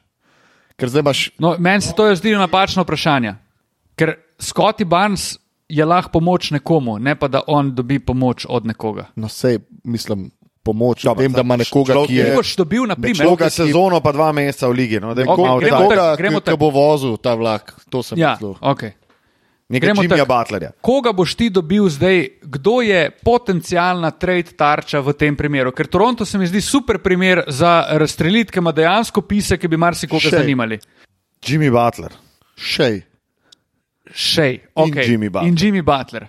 Speaker 4: Ker zdaj imaš,
Speaker 2: No, meni se to je zdelo napačno vprašanje, ker Scotty Barnes je lahko pomoč nekomu, ne pa da on dobi pomoč od nekoga.
Speaker 4: no vse, mislim, pomoč,
Speaker 3: Dobro,
Speaker 4: Dobar, tem, da ima
Speaker 3: zdaj,
Speaker 4: nekoga,
Speaker 3: človek
Speaker 4: ki
Speaker 3: je-
Speaker 4: je.
Speaker 2: Ti boš dobil, na primer,
Speaker 3: Človek je sezono, pa dva meseca v ligi. No, da je
Speaker 2: Ok,
Speaker 3: malo
Speaker 2: gremo
Speaker 3: tak.
Speaker 2: tako.
Speaker 4: Nekoga,
Speaker 2: gremo
Speaker 4: ki, ki bo vozil ta vlak, to sem
Speaker 2: ja,
Speaker 4: mislil.
Speaker 2: okay.
Speaker 3: Nekaj
Speaker 2: Gremo
Speaker 3: Jimija
Speaker 2: tako.
Speaker 3: Butlerja.
Speaker 2: Ja. Koga boš ti dobil zdaj, kdo je potencijalna trade tarča v tem primeru? Ker Toronto se mi zdi super primer za razstreliti, ki ima dejansko pise, ki bi marsikoga
Speaker 4: Shea.
Speaker 2: zanimali.
Speaker 3: Jimmy Butler.
Speaker 4: Še.
Speaker 2: Še okay.
Speaker 3: Jimmy Butler.
Speaker 2: In Jimmy Butler.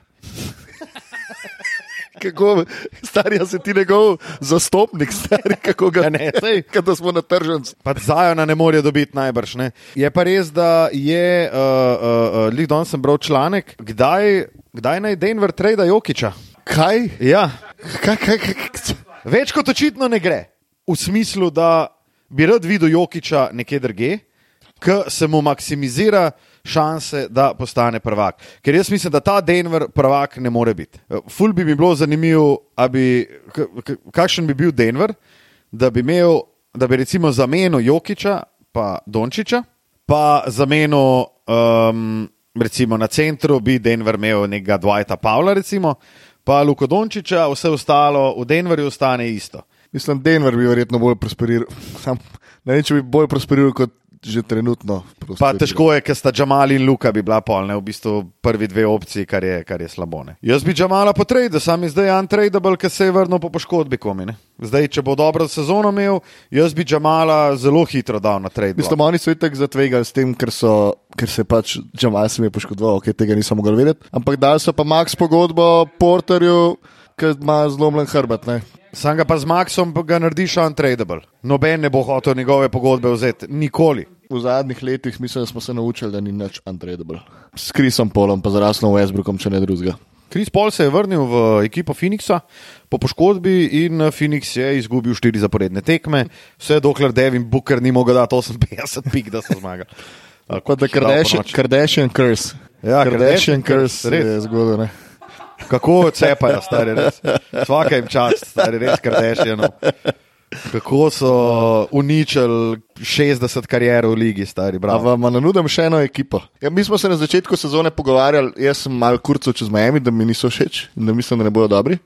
Speaker 4: Kako, stari, a si ti njegov zastopnik, stari, kako ga
Speaker 3: Ja, ne, saj.
Speaker 4: Kada smo na tržnici.
Speaker 3: Pa Zajona ne morejo dobiti najbrž. Ne? Je pa res, da je, uh, uh, uh, lih danes sem bral članek, kdaj, kdaj naj Denver trade Jokiča.
Speaker 4: Kaj?
Speaker 3: Ja,
Speaker 4: Kaj, kaj, kaj, kaj?
Speaker 3: več kot očitno ne gre. V smislu, da bi rad videl Jokiča nekje drugje, ki se mu maksimizira šanse, da postane prvak. Ker jaz mislim, da ta Denver prvak ne more biti. Eh, Ful bi mi bilo zanimivo, a bi, k- k- kakšen bi bil Denver, da bi imel, da bi recimo zamenil Jokiča pa Dončiča, pa zamenil. Um, Recimo na centru bi Denver imel nekega Dwighta Pavla, recimo, pa Luko Dončiča, vse ostalo v Denverju ostane isto.
Speaker 4: Mislim, Denver bi verjetno bolj prosperiral. Sam Ne vem, če bi bolj prosperiral kot že trenutno.
Speaker 3: Pa
Speaker 4: prosperira.
Speaker 3: težko je, ker sta Džamal in Luka bi bila polne, v bistvu prvi dve opciji, kar je, kar je slabo. Ne. Jaz bi Džamala potredil, sam je zdaj untradeable, ker se je vrnil po poškodbi komine. Zdaj, če bo dobro sezono imel, jaz bi Džamala zelo hitro dal na trade.
Speaker 4: Mislim, oni so itek zatvegali s tem, ker, so, ker se pač Džamal se mi je poškodoval, ki tega nisem mogel vedeti. Ampak dal so pa Max pogodbo Porterju, ki ima zlomljen hrbet. Ne?
Speaker 3: Sam ga pa z Maxom ga narediš untradeable. Noben ne bo hotel njegove pogodbe vzeti, nikoli.
Speaker 4: V zadnjih letih mislim, da smo se naučili, da ni nič untradable. S Krisom Polom, pa zraslo Westbrookom, če ne drugega.
Speaker 3: Kris Paul se je vrnil v ekipo Phoenixa po poškodbi in eh, Phoenix je izgubil štiri zaporedne tekme, vse dokler Devin Booker ni mogel dati 58 pik, da so zmagali. Ali
Speaker 4: Kot da
Speaker 3: koliko je dal
Speaker 4: Kardashian,
Speaker 3: ponoči.
Speaker 4: Kardashian curse.
Speaker 3: Ja, Kardashian
Speaker 4: Kardashian
Speaker 3: curse,
Speaker 4: curse
Speaker 3: res.
Speaker 4: je zgodovina.
Speaker 3: Kako cepajo, stari res. Vsaka jim čast, stari res, kar dešjeno. Kako so eh, uničili 60 karier v ligi, stari
Speaker 4: A
Speaker 3: bravo.
Speaker 4: vam nanudim še eno ekipo. Ja, mi smo se na začetku sezone pogovarjali, jaz sem malo kurco čez Miami, da mi niso všeč in da mislim, da ne bodo dobri.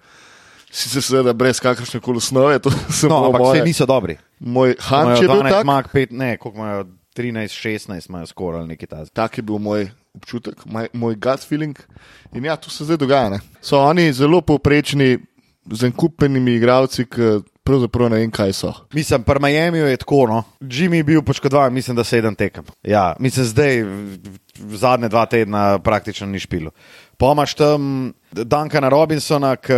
Speaker 4: Sicer seveda brez kakršne koli osnove, to sem
Speaker 3: No, ampak vse
Speaker 4: moj,
Speaker 3: niso dobri.
Speaker 4: moj
Speaker 3: Imajo
Speaker 4: hanč je bil
Speaker 3: 12
Speaker 4: tak.
Speaker 3: zmag, 5, ne, koliko imajo 13, 16, imajo skoraj ali nekaj tazga.
Speaker 4: Tak je bil moj občutek, moj, moj gut feeling. In ja, to se zdaj dogaja. Ne? So oni zelo povprečni z enkupenimi igravci, ki pravzaprav ne vem, kaj so.
Speaker 3: Mislim, pri Miamiju je tako, no. Jimmy je bil poškodovan, mislim, da sedem tekem. Ja, mislim, zdaj, v- v zadnje dva tedna praktično ni špilo. Pomaž tam Dankana Robinsona, ki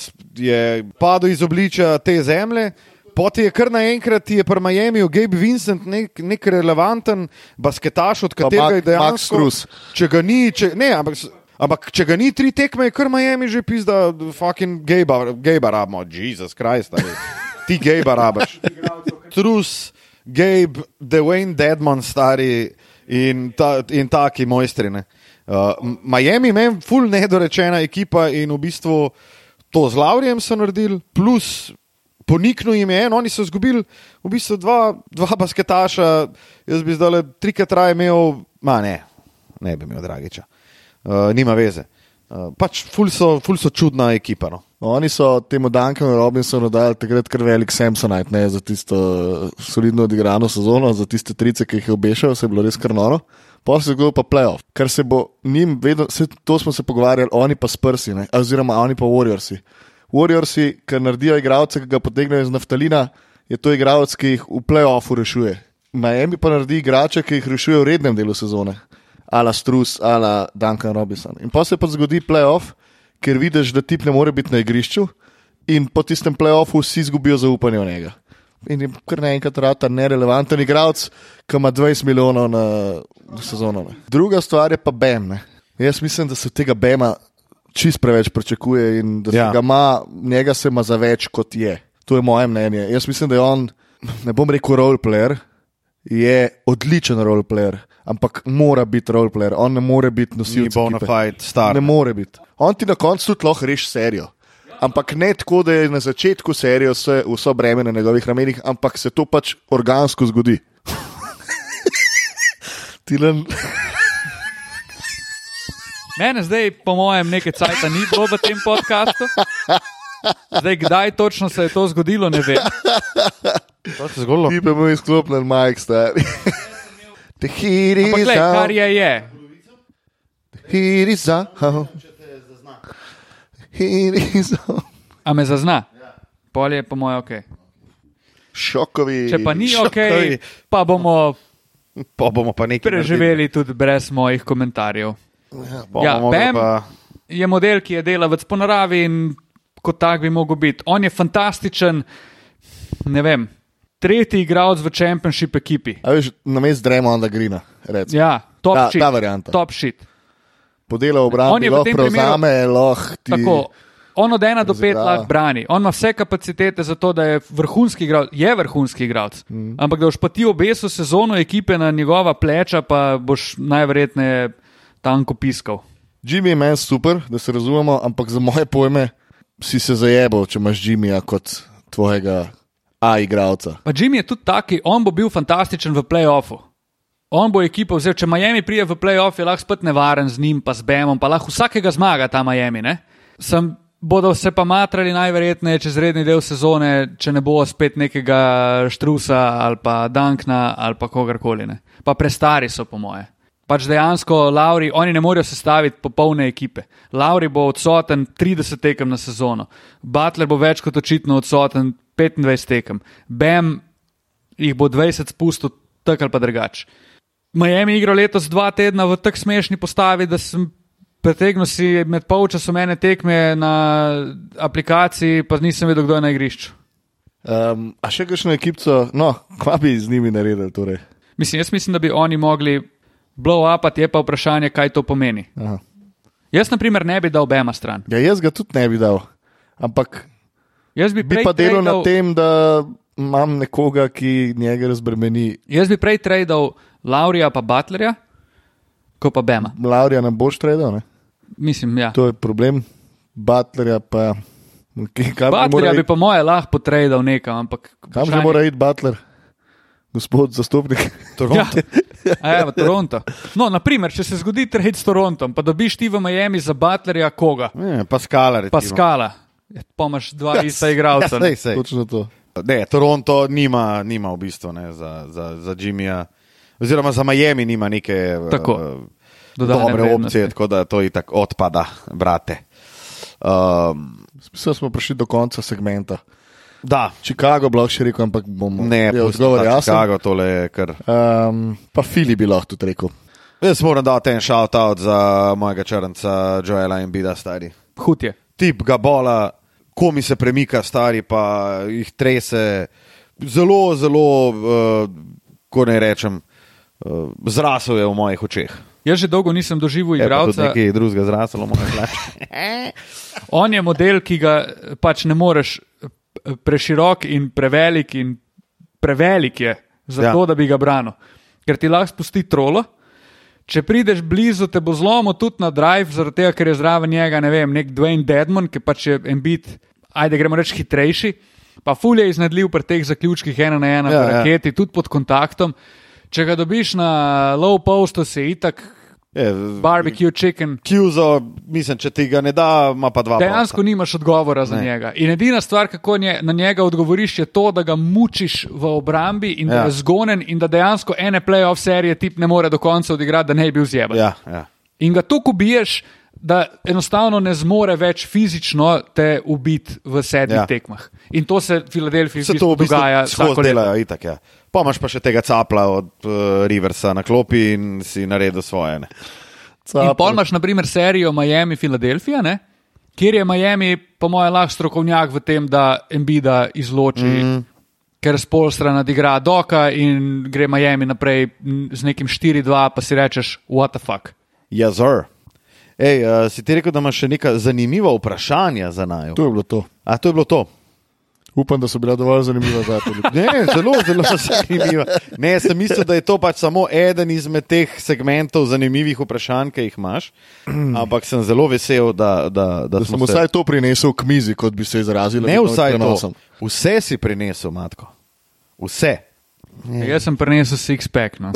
Speaker 3: s- je padel iz obliča te zemlje. Poti je kar naenkrat, ti je pri Miamiju Gabe Vincent nek, nek relevanten basketaš, od katerega je
Speaker 4: Mac- Max
Speaker 3: dejansko.
Speaker 4: Strus.
Speaker 3: Če ga ni, če, ne, ampak, s- ampak če ga ni tri tekme, je kar Miami že pizda, fucking gejba, gejba rabimo, Jezus Krist, ali. ti gejba rabaš. Trus, Gabe, Dwayne Deadman, stari in, ta, in taki mojstrine. Uh, M- Miami meni ful nedorečena ekipa in v bistvu to z Laurijem so naredili, plus Poniknil jim je en, oni so izgubili v bistvu dva, dva basketaša, jaz bi zdaj le trikrat raje imel, ma ne, ne bi imel Dragiča, uh, nima veze. Uh, pač ful so, ful so čudna ekipa. No.
Speaker 4: Oni so temu Dunkanu Robinsonu dali takrat kar velik Samsonite, ne za tisto eh, solidno odigrano sezono, za tiste trice, ki jih je obešal, se je bilo res kar noro. Pol se je zgodil pa playoff, kar se bo njim vedno, vse to smo se pogovarjali, oni pa sprsi, ne, oziroma oni pa Warriorsi. Warriorsi, ker naredijo igralce, ki ga potegnejo iz naftalina, je to igralec, ki jih v playoffu rešuje. Miami pa naredi igrače, ki jih rešuje v rednem delu sezone, ala Strus, ala Duncan Robinson. In pa se pa zgodi playoff, ker vidiš, da tip ne more biti na igrišču, in po tistem playoffu vsi izgubijo zaupanje v njega. In je kar naenkrat rata nerelevanten igralec, ki ima 20 milijonov na sezono. Ne. Druga stvar je pa BEM. Ne. Jaz mislim, da se od tega BEM-a čist preveč pričakuje in da
Speaker 3: Ja.
Speaker 4: ja. ga ima, njega se ima za več kot je. To je moje mnenje. Jaz mislim, da je on, ne bom rekel, roleplayer, je odličen roleplayer, ampak mora biti roleplayer, on ne more biti
Speaker 3: Ti
Speaker 4: nosilec. ekipe.
Speaker 3: bonafide star.
Speaker 4: Ne more biti. On ti na koncu tudi lahko reši serijo. Ampak ne tako, da je na začetku serije vse, vso breme na njegovih ramenih, ampak se to pač organsko zgodi. Tilen,
Speaker 2: Mene zdaj, po mojem, nekaj cajta ni bilo v tem podkastu. Zdaj, kdaj točno se je to zgodilo, ne vem.
Speaker 3: To se je zgodilo.
Speaker 4: ti pa mu izklopljen, majk stari. Te hiri
Speaker 2: Ampak, gled, kar je, je.
Speaker 4: hiri za. Hiri za.
Speaker 2: A me zazna. Polje je, po mojem, ok.
Speaker 4: Šokovi.
Speaker 2: Če pa ni ok,
Speaker 3: Šokavi.
Speaker 2: pa bomo
Speaker 3: Pa bomo pa nekaj
Speaker 2: preživeli tudi brez mojih komentarjev.
Speaker 3: Naredili.
Speaker 2: Ja,
Speaker 3: Ja,
Speaker 2: Bam.
Speaker 3: Bam. Pa,
Speaker 2: je model, ki je delavec po naravi in kot tak bi mogel biti. On je fantastičen, ne vem, tretji igralec v Championship ekipi.
Speaker 4: A veš, na mestu dremo onda grina. recimo.
Speaker 2: Ja, top
Speaker 4: Ta-
Speaker 2: shit.
Speaker 4: ta varianta.
Speaker 2: Top shit.
Speaker 4: Podela
Speaker 2: On je
Speaker 4: obrambi,
Speaker 2: v
Speaker 4: lahko
Speaker 2: tem primeru-
Speaker 4: prevzame, lahko ti.
Speaker 2: Tako. On od 1 do 5
Speaker 4: Razigrava.
Speaker 2: lahko brani, on ima vse kapacitete za to, da je vrhunski igralec, je vrhunski igralec.
Speaker 4: Mhm.
Speaker 2: Mm. Ampak da boš pa ti obesil sezono ekipe na njegova pleča, pa boš najverjetneje tanko piskal.
Speaker 4: Jimmy je meni super, da se razumemo, ampak za moje pojme si se zajebal, če imaš Jimmyja kot tvojega A-igravca.
Speaker 2: Pa Jimmy je tudi taki, on bo bil fantastičen v playoffu. On bo ekipo vzel, če Miami pride v playoff, je lahko spet nevaren z njim, pa z Bemom, pa lahko vsakega zmaga ta Miami. Ne? Sem bodo se pa matrali najverjetneje čez redni del sezone, če ne bo spet nekega Štrusa ali pa Dankna ali pa kogarkoli. Ne. Pa prestari so, po moje. Pač dejansko Lauri, oni ne morejo sestaviti popolne ekipe. Lauri bo odsoten 30 tekem na sezono, Butler bo več kot očitno odsoten 25 tekem, Bem jih bo 20 spustil tak ali pa drugač. Miami igro letos dva tedna v tako smešni postavi, da sem pretegnil si med polčasom ene tekme na aplikaciji, pa nisem vedel, kdo je na igrišču.
Speaker 4: Um, a še kakšno ekipo, no, kva bi z njimi naredili? Torej?
Speaker 2: Mislim, jaz mislim, da bi oni mogli blow upati, je pa vprašanje, kaj to pomeni.
Speaker 4: Aha.
Speaker 2: Jaz, na primer, ne bi dal obema stran.
Speaker 4: Ja, jaz ga tudi ne bi dal, ampak
Speaker 2: Jaz bi,
Speaker 4: bi
Speaker 2: prej
Speaker 4: pa delal na
Speaker 2: tradal-
Speaker 4: tem, da imam nekoga, ki njega razbremeni.
Speaker 2: Jaz bi prej tradil Laurija pa Butlerja, kot pa Bema.
Speaker 4: Laurija ne boš tredal, ne?
Speaker 2: Mislim, ja.
Speaker 4: to je problem. Butlerja pa. Kaj, kam že mora
Speaker 2: Butlerja bi
Speaker 4: iti-
Speaker 2: po moje lahko potradil nekam, ampak.
Speaker 4: kam že
Speaker 2: vprašanje-
Speaker 4: mora iti Butler, gospod zastopnik?
Speaker 2: Ja. A Ja, v Toronto. No, naprimer, če se zgodi trade s Torontom, pa dobiš ti v Miami za Butlerja koga?
Speaker 3: Ne, Paskala, recimo.
Speaker 2: Paskala. Ja, Pa imaš dva ista
Speaker 3: Ja,
Speaker 2: igralca.
Speaker 3: sej, sej.
Speaker 4: Točno to.
Speaker 3: Ne, Toronto nima, nima v bistvu ne, za, za, za Jimmyja, oziroma za Miami nima neke eh,
Speaker 2: Tako,
Speaker 3: eh,
Speaker 2: dodane
Speaker 3: dobre
Speaker 2: vrednosti.
Speaker 3: opcije, tako da to itak odpada, brate. Um,
Speaker 4: Mislim, da smo prišli do konca segmenta.
Speaker 3: da,
Speaker 4: Chicago bi lahko še rekel, ampak bomo
Speaker 3: ne,
Speaker 4: je
Speaker 3: pusti
Speaker 4: odgovor
Speaker 3: ta
Speaker 4: jasen.
Speaker 3: Chicago, tole je kar.
Speaker 4: Um, pa Fili bi lahko tudi rekel.
Speaker 3: Jaz moram dati en shout-out za mojega črnca Joela in Bida, stari.
Speaker 2: Hud je.
Speaker 3: Tip ga bola, komi se premika, stari pa jih trese. Zelo, zelo, uh, ko ne rečem, uh, zrasel je v mojih očeh.
Speaker 2: Jaz že dolgo nisem doživel
Speaker 3: Je Ja, pa tudi
Speaker 2: igralca.
Speaker 3: nekaj drugega zraslo, moja plača.
Speaker 2: On je model, ki ga eh, pač ne moreš eh, preširok in prevelik in prevelik je za
Speaker 3: Ja.
Speaker 2: to, da bi ga branil. Ker ti lahko spusti trolo. Če prideš blizu, te bo zlomil tudi na drive, zaradi tega, ker je zraven njega, ne vem, nek Dwayne Dedmon, ki pač je embit, ajde gremo reči hitrejši, pa ful je iznedljiv pri teh zaključkih ena na ena,
Speaker 3: Ja,
Speaker 2: ja,
Speaker 3: ja.
Speaker 2: raketi, ja. tudi pod kontaktom. Če ga dobiš na low postu, se itak, barbecue chicken,
Speaker 3: Kjuzo, mislim, če ti ga ne da, ima pa dva.
Speaker 2: Dejansko nimaš odgovora za ne. njega. In edina stvar, kako nje, na njega odgovoriš, je to, da ga mučiš v obrambi in ja.
Speaker 3: Ja.
Speaker 2: da je zgonen in da dejansko ene playoff serije tip ne more do konca odigrati, da ne bi bil zjeben.
Speaker 3: prosta. Ja, ja.
Speaker 2: In ga tako ubiješ, da enostavno ne zmore več fizično te ubiti v sedmih
Speaker 3: Ja.
Speaker 2: ja. tekmah. In to se Filadelfiji v
Speaker 3: Se
Speaker 2: bistvu
Speaker 3: to v bistvu
Speaker 2: dogaja
Speaker 3: skozi
Speaker 2: vsako leto.
Speaker 3: delajo, itak. Ja. Pa imaš pa še tega capla od uh, Riversa na klopi in si naredil svoje. Ne.
Speaker 2: In pol
Speaker 4: Capel.
Speaker 2: imaš, na primer, serijo Miami, Filadelfija, ne? kjer je Miami, po mojem, lahko strokovnjak v tem, da Embida izloči,
Speaker 3: Mhm.
Speaker 2: mm. ker spolstra nadigra Doka in gre Miami naprej m, z nekim 4-2, pa si rečeš, what the fuck.
Speaker 3: Jazor. Ja, Ej, uh, si ti rekel, da imaš še neka zanimiva vprašanja za naj?
Speaker 4: To je bilo to.
Speaker 3: A to je bilo to?
Speaker 4: Upam, da so bila dovolj zanimiva za to.
Speaker 3: Ne, zelo, zelo zanimiva. Ne, sem mislil, da je to pač samo eden izmed teh segmentov zanimivih vprašanj, ki jih imaš. Ampak sem zelo vesel, da, da, da,
Speaker 4: Da sem vsaj to prinesel k mizi, kot bi se izrazil.
Speaker 3: Ne
Speaker 4: med
Speaker 3: vsaj to.
Speaker 4: prenosom.
Speaker 3: Vse si prinesel, matko. Vse.
Speaker 2: Mm. Jaz sem prenesel six-pack. No.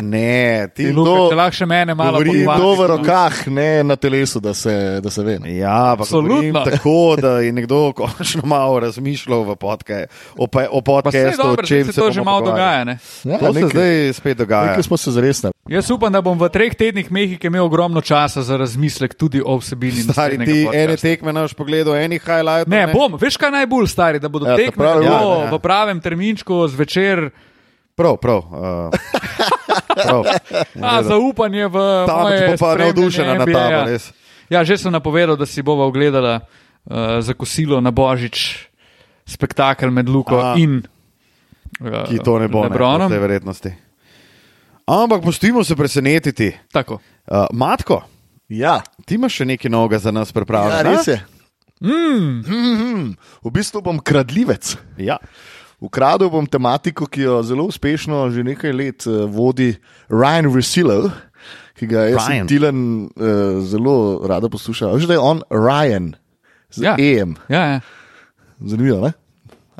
Speaker 3: Ne, ti.
Speaker 4: In
Speaker 2: Luka,
Speaker 4: to
Speaker 2: če lahko še mene malo
Speaker 4: Govori
Speaker 2: pohvališ,
Speaker 4: to v
Speaker 2: no.
Speaker 4: rokah, ne na telesu, da se, da se ve. Ne.
Speaker 3: Ja, ampak
Speaker 2: Absolutno.
Speaker 3: govorim tako, da je nekdo končno malo razmišljal v podke, o, pa, o
Speaker 2: Pa se je
Speaker 3: podkastu,
Speaker 2: dobro,
Speaker 3: o
Speaker 2: da
Speaker 3: čem
Speaker 2: se to že
Speaker 3: bomo
Speaker 2: malo
Speaker 3: pogovarjali.
Speaker 2: dogaja. Ne?
Speaker 4: Ja,
Speaker 3: To se
Speaker 4: nekaj-
Speaker 3: zdaj spet dogaja.
Speaker 4: Nekaj smo se zresnali.
Speaker 2: Jaz upam, da bom v treh tednih Mehike imel ogromno časa za razmislek tudi o vsebini.
Speaker 3: Stari
Speaker 2: naslednjega
Speaker 3: ti
Speaker 2: podcasta.
Speaker 3: ene tekme naš pogled, eni highlight.
Speaker 2: Ne, bom, veš kaj najbolj stari, da bodo
Speaker 4: Ja,
Speaker 2: ja,
Speaker 4: ta
Speaker 2: tekme
Speaker 4: pravi
Speaker 2: pravi,
Speaker 3: ura,
Speaker 2: ja,
Speaker 3: ja.
Speaker 2: v pravem terminčku zvečer.
Speaker 3: Prav, prav. Uh, prav.
Speaker 2: A, zaupanje v
Speaker 3: Tam
Speaker 2: moje
Speaker 3: Ja, bo pa
Speaker 2: spremljanje
Speaker 3: navdušena na
Speaker 2: NBA,
Speaker 3: tabo,
Speaker 2: ja.
Speaker 3: res.
Speaker 2: Ja, že sem napovedal, da si bova ogledala uh, za kosilo na Božič spektakel med Luko Aha.
Speaker 3: Aha.
Speaker 2: in uh,
Speaker 3: Ki to ne bo, ne, po
Speaker 2: Lebronom. Ne,
Speaker 3: vsej verjetnosti. Ampak pustimo se presenetiti.
Speaker 2: Tako.
Speaker 3: Uh, matko,
Speaker 4: Ja,
Speaker 3: ti imaš še nekaj novega za nas
Speaker 4: ja
Speaker 3: pripravljeno?
Speaker 4: res je. Mm. V bistvu bom kradljivec.
Speaker 3: Ja.
Speaker 4: Ukradel bom tematiko, ki jo zelo uspešno že nekaj let eh, vodi Ryan Rusilo, ki ga jaz
Speaker 3: Ryan.
Speaker 4: in Tilan eh, zelo rada posluša. Že da je on Ryan z
Speaker 2: Ja.
Speaker 4: ja.
Speaker 3: E
Speaker 4: EM.
Speaker 2: Ja, ja.
Speaker 3: Ja.
Speaker 4: Zanimivo, ne?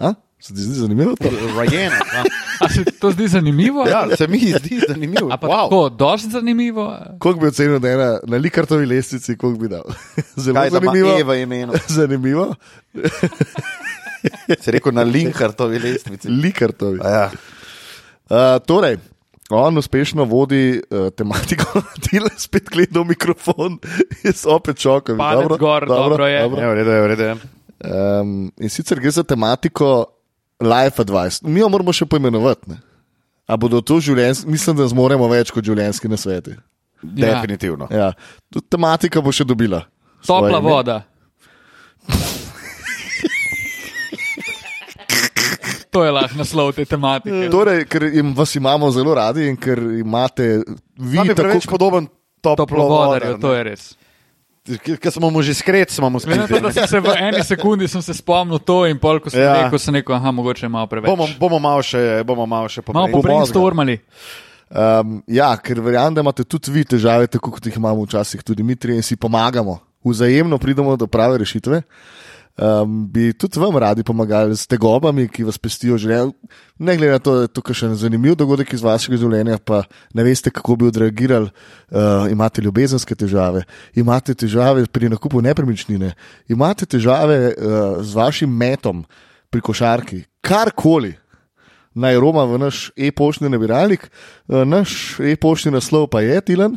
Speaker 4: A? Se ti zdi zanimivo? to?
Speaker 3: Rajen.
Speaker 2: A se to zdi zanimivo?
Speaker 3: Ja, se mi zdi zanimivo.
Speaker 2: A pa wow.
Speaker 3: Wow.
Speaker 2: tako, dosti zanimivo.
Speaker 4: Koliko bi ocenil, da je na, na likartovi lestvici, koliko bi dal? Zelo
Speaker 3: Kaj da ima
Speaker 4: zanimivo.
Speaker 3: E v imenu?
Speaker 4: Zanimivo.
Speaker 3: Se rekel na Linkartovi lestvici.
Speaker 4: Likartovi.
Speaker 3: A Ja.
Speaker 4: Uh, torej, on uspešno vodi uh, tematiko, tile spet gleda v mikrofon, jaz opet čakam.
Speaker 2: Palec
Speaker 4: Dobro,
Speaker 2: gor, dobro je.
Speaker 3: Je v redu, je v redu. ja. je.
Speaker 4: Um, in sicer gre za tematiko life advice. Mi jo moramo še poimenovati. Ne? A bodo to življenjski, mislim, da zmoremo več kot življenjski na svetu.
Speaker 2: Ja.
Speaker 3: Definitivno.
Speaker 4: Ja. Tudi tematika bo še dobila.
Speaker 2: Topla
Speaker 4: svoje ime.
Speaker 2: voda. to je lahko naslov te tematike.
Speaker 4: Torej, ker jim, vas imamo zelo radi in ker imate vi
Speaker 3: Vam je preveč
Speaker 4: tako.
Speaker 3: podoben
Speaker 2: Toplovodarju,
Speaker 3: toplovodarju.
Speaker 2: to je res.
Speaker 3: Ker smo mu že skret, smo mu
Speaker 2: Glede na to, da
Speaker 3: skret.
Speaker 2: sem se v eni sekundi sem se spomnil to in pol, ko sem
Speaker 3: Ja.
Speaker 2: ja. rekel, sem rekel, aha, mogoče je malo preveč.
Speaker 3: Bomo, bomo malo še, bomo malo še
Speaker 2: malo
Speaker 3: pomagali.
Speaker 2: pobrainstormali.
Speaker 4: Um, ja, ker verjamem, da imate tudi vi težave, tako kot jih imamo včasih tudi mi, tri, in si pomagamo, vzajemno pridemo do prave rešitve. Um, bi tudi vam radi pomagali s tegobami, ki vas pestijo življenje. Ne glede na to, da je to še en zanimiv dogodek iz vašega življenja, pa ne veste, kako bi odreagirali. Uh, imate ljubezenske težave, imate težave pri nakupu nepremičnine, imate težave uh, z vašim metom pri košarki, karkoli naj Roma v naš e-poštni nabiralnik. Eh, Naš e-poštni naslov pa je Tilan.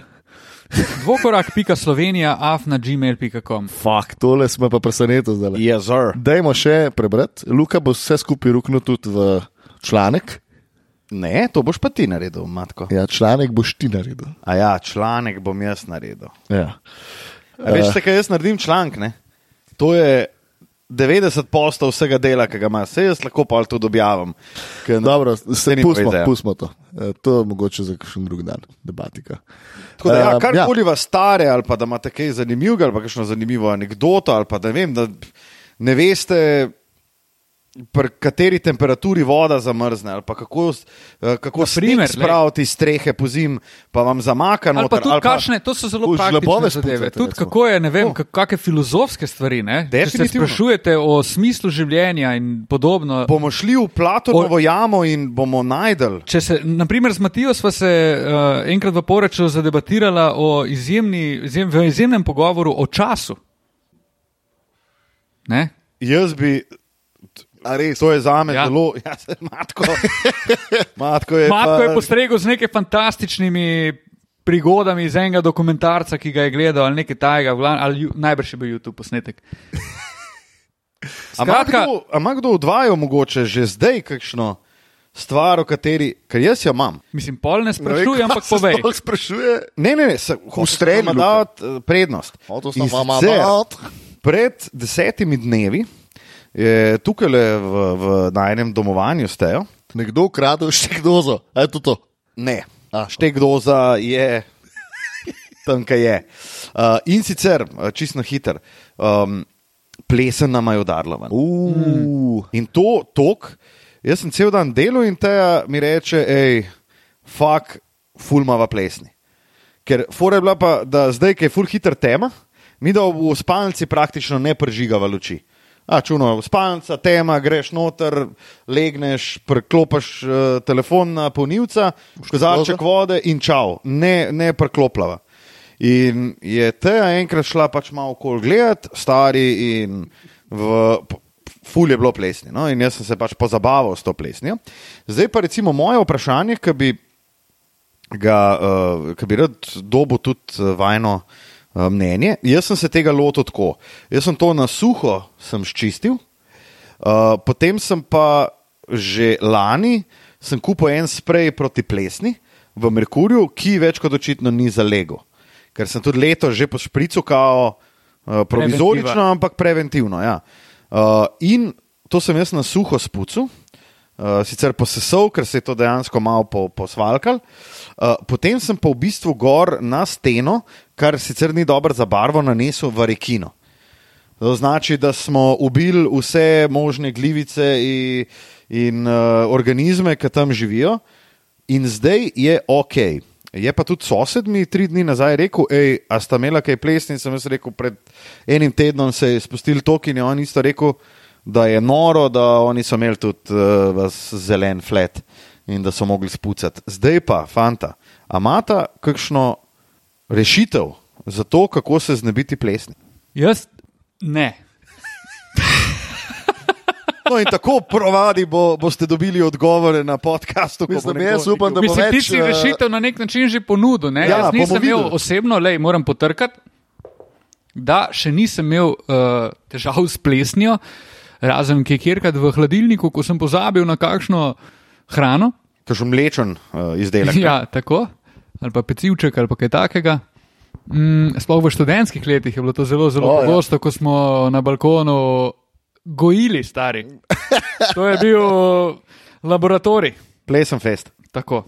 Speaker 2: Dvokorak pika Slovenija, afna gmail.com.
Speaker 4: Fakt, tole smo pa presenečeni zdaj.
Speaker 3: Yes, sir.
Speaker 4: Dajmo še prebrati. Luka bo vse skupaj ruknil tudi v članek.
Speaker 3: Ne, to boš pa ti naredil, matko.
Speaker 4: Ja, članek boš ti naredil.
Speaker 3: A ja, članek bom jaz naredil.
Speaker 4: Ja.
Speaker 3: A Veš, uh, kaj jaz naredim članek? Ne? To je 90 postov vsega dela, ki ga imaš, vse jaz lahko pa to objavim. ker na-
Speaker 4: Dobro, se
Speaker 3: ni
Speaker 4: pustimo,
Speaker 3: povedal.
Speaker 4: pustimo to. Eh, To je mogoče za kakšen drug dan, debatika.
Speaker 3: Tako da, ja,
Speaker 4: Eh,
Speaker 3: karkoli ja. vas stare, ali pa da imate kaj zanimivega, ali pa kakšno zanimivo anegdoto, ali pa da, ne vem, da ne veste, pri kateri temperaturi voda zamrzne, ali pa kako, s- eh, kako
Speaker 2: Naprimer,
Speaker 3: sneg spraviti iz strehe po zim, pa vam zamaka
Speaker 2: Ali pa
Speaker 3: noter.
Speaker 2: tudi kakšne, to so zelo
Speaker 4: v
Speaker 2: praktične
Speaker 4: žlabove
Speaker 2: zadeve.
Speaker 4: spucate,
Speaker 2: Tudi
Speaker 4: recimo.
Speaker 2: kako je, ne vem, kak, kakšne filozofske stvari, ne? Če se
Speaker 3: Definitivno.
Speaker 2: sprašujete o smislu življenja in podobno.
Speaker 3: Bomo šli v Platonovo jamo in bomo najdel.
Speaker 2: Če se, naprimer, z Matijo sva se uh, enkrat v Poreču zadebatirala o izjemni, izjem, v izjemnem pogovoru o času. Ne?
Speaker 3: Jaz bi. To je za me
Speaker 2: Ja.
Speaker 3: ja. zelo, ja, se- matko. matko
Speaker 4: E,
Speaker 3: je,
Speaker 2: Matko
Speaker 3: pa,
Speaker 2: je postregel z nekaj fantastičnimi prigodami iz enega dokumentarca, ki ga je gledal, ali nekaj tajega, v glavnem, ali ju- najbrž je bil YouTube posnetek.
Speaker 3: A ima
Speaker 2: Skratka-
Speaker 3: kdo- a ima kdo odvajo mogoče že zdaj kakšno stvar, o kateri, ker jaz jo imam.
Speaker 2: Mislim, pol ne
Speaker 4: Ne vem,
Speaker 2: sprašujem,
Speaker 4: No, kaj
Speaker 2: ampak
Speaker 4: se
Speaker 2: povej.
Speaker 4: sploh Sprašuje,
Speaker 3: Ne, ne, ne, se
Speaker 4: Ustreli,
Speaker 3: hočem dati eh, prednost.
Speaker 4: O, to sem
Speaker 3: In
Speaker 4: vam
Speaker 3: sicer,
Speaker 4: dal.
Speaker 3: Pred desetimi dnevi je tukaj v, v najnem domovanju stejo.
Speaker 4: nekdo ukradel še kdo za. Je to to?
Speaker 3: Ne,
Speaker 4: A.
Speaker 3: štekdoza je tam, kaj je. Uh, in sicer, uh, čisto hiter, um, plesen nam je udarila. ven.
Speaker 4: Uh.
Speaker 3: Hmm. In to tok, jaz sem cel dan delal in te mi reče, hej, fuk, fulmava plesni. Ker fora je bila pa, da zdaj, ki je ful hiter tema, mi da v spalnici praktično ne prežigava luči. A čuno, spalnica, tema, greš noter, legneš, preklopiš uh, telefon na polnilca, kozarček vode in čau, ne, ne preklopljava. In je te enkrat šla pač malo okol gledati, stari in v. p- Ful je bilo plesni, no? in jaz sem se pač pozabaval s to plesnijo. Zdaj pa recimo moje vprašanje, ki bi ga, uh, ki bi rad dobil tudi eh, vajno uh, mnenje. Jaz sem se tega lotil tako. Jaz sem to na suho sem ščistil, uh, potem sem pa že lani sem kupil en sprej proti plesni v Merkurju, ki več kot očitno ni zalegel. Ker sem tudi leto že po špricu kao uh, provizorično,
Speaker 2: Preventiva.
Speaker 3: ampak preventivno. Ja. Uh, in to sem jaz na suho spucu, uh, sicer posesal, ker se je to dejansko malo po, posvalkal. Uh, potem sem pa v bistvu gor na steno, kar sicer ni dobro za barvo, nanesel varekino. To znači, da smo ubili vse možne glivice in, in uh, organizme, ki tam živijo, in zdaj je ok. Je pa tudi sosed mi tri dni nazaj rekel, hej, a sta imela kaj plesni, sem jaz rekel, pred enim tednom se je spustil tok in je on isto rekel, da je noro, da oni so imeli tudi uh, vas eh, zelen flat. in da so mogli spucati. Zdaj pa, fanta, a imata kakšno rešitev za to, kako se znebiti plesni?
Speaker 2: Jaz ne.
Speaker 3: No in tako provadi bo, boste dobili odgovore na podkastu. ko bo
Speaker 4: Mislim,
Speaker 3: nekdo
Speaker 4: jaz upam,
Speaker 3: rekel-
Speaker 4: da bo
Speaker 2: Mislim, ti
Speaker 4: več,
Speaker 2: si
Speaker 4: eh,
Speaker 2: rešitev na nek način že ponudil. Ne?
Speaker 3: Ja,
Speaker 2: Jaz
Speaker 3: bomo
Speaker 2: nisem imel
Speaker 3: videli.
Speaker 2: osebno, lej, moram potrkati, da še nisem imel uh, težav s plesnjo, razen kjerkrat v hladilniku, ko sem pozabil na kakšno hrano.
Speaker 3: Kakšen mlečen uh, izdelek. ne?
Speaker 2: Ja, tako. Ali pa pecivček ali pa kaj takega. Mm, sploh v študentskih letih je bilo to zelo, zelo
Speaker 4: O, ja.
Speaker 2: oh, pogosto, ja. ko smo na balkonu gojili stari. To je bil laboratorij.
Speaker 3: Plesen fest.
Speaker 2: Tako.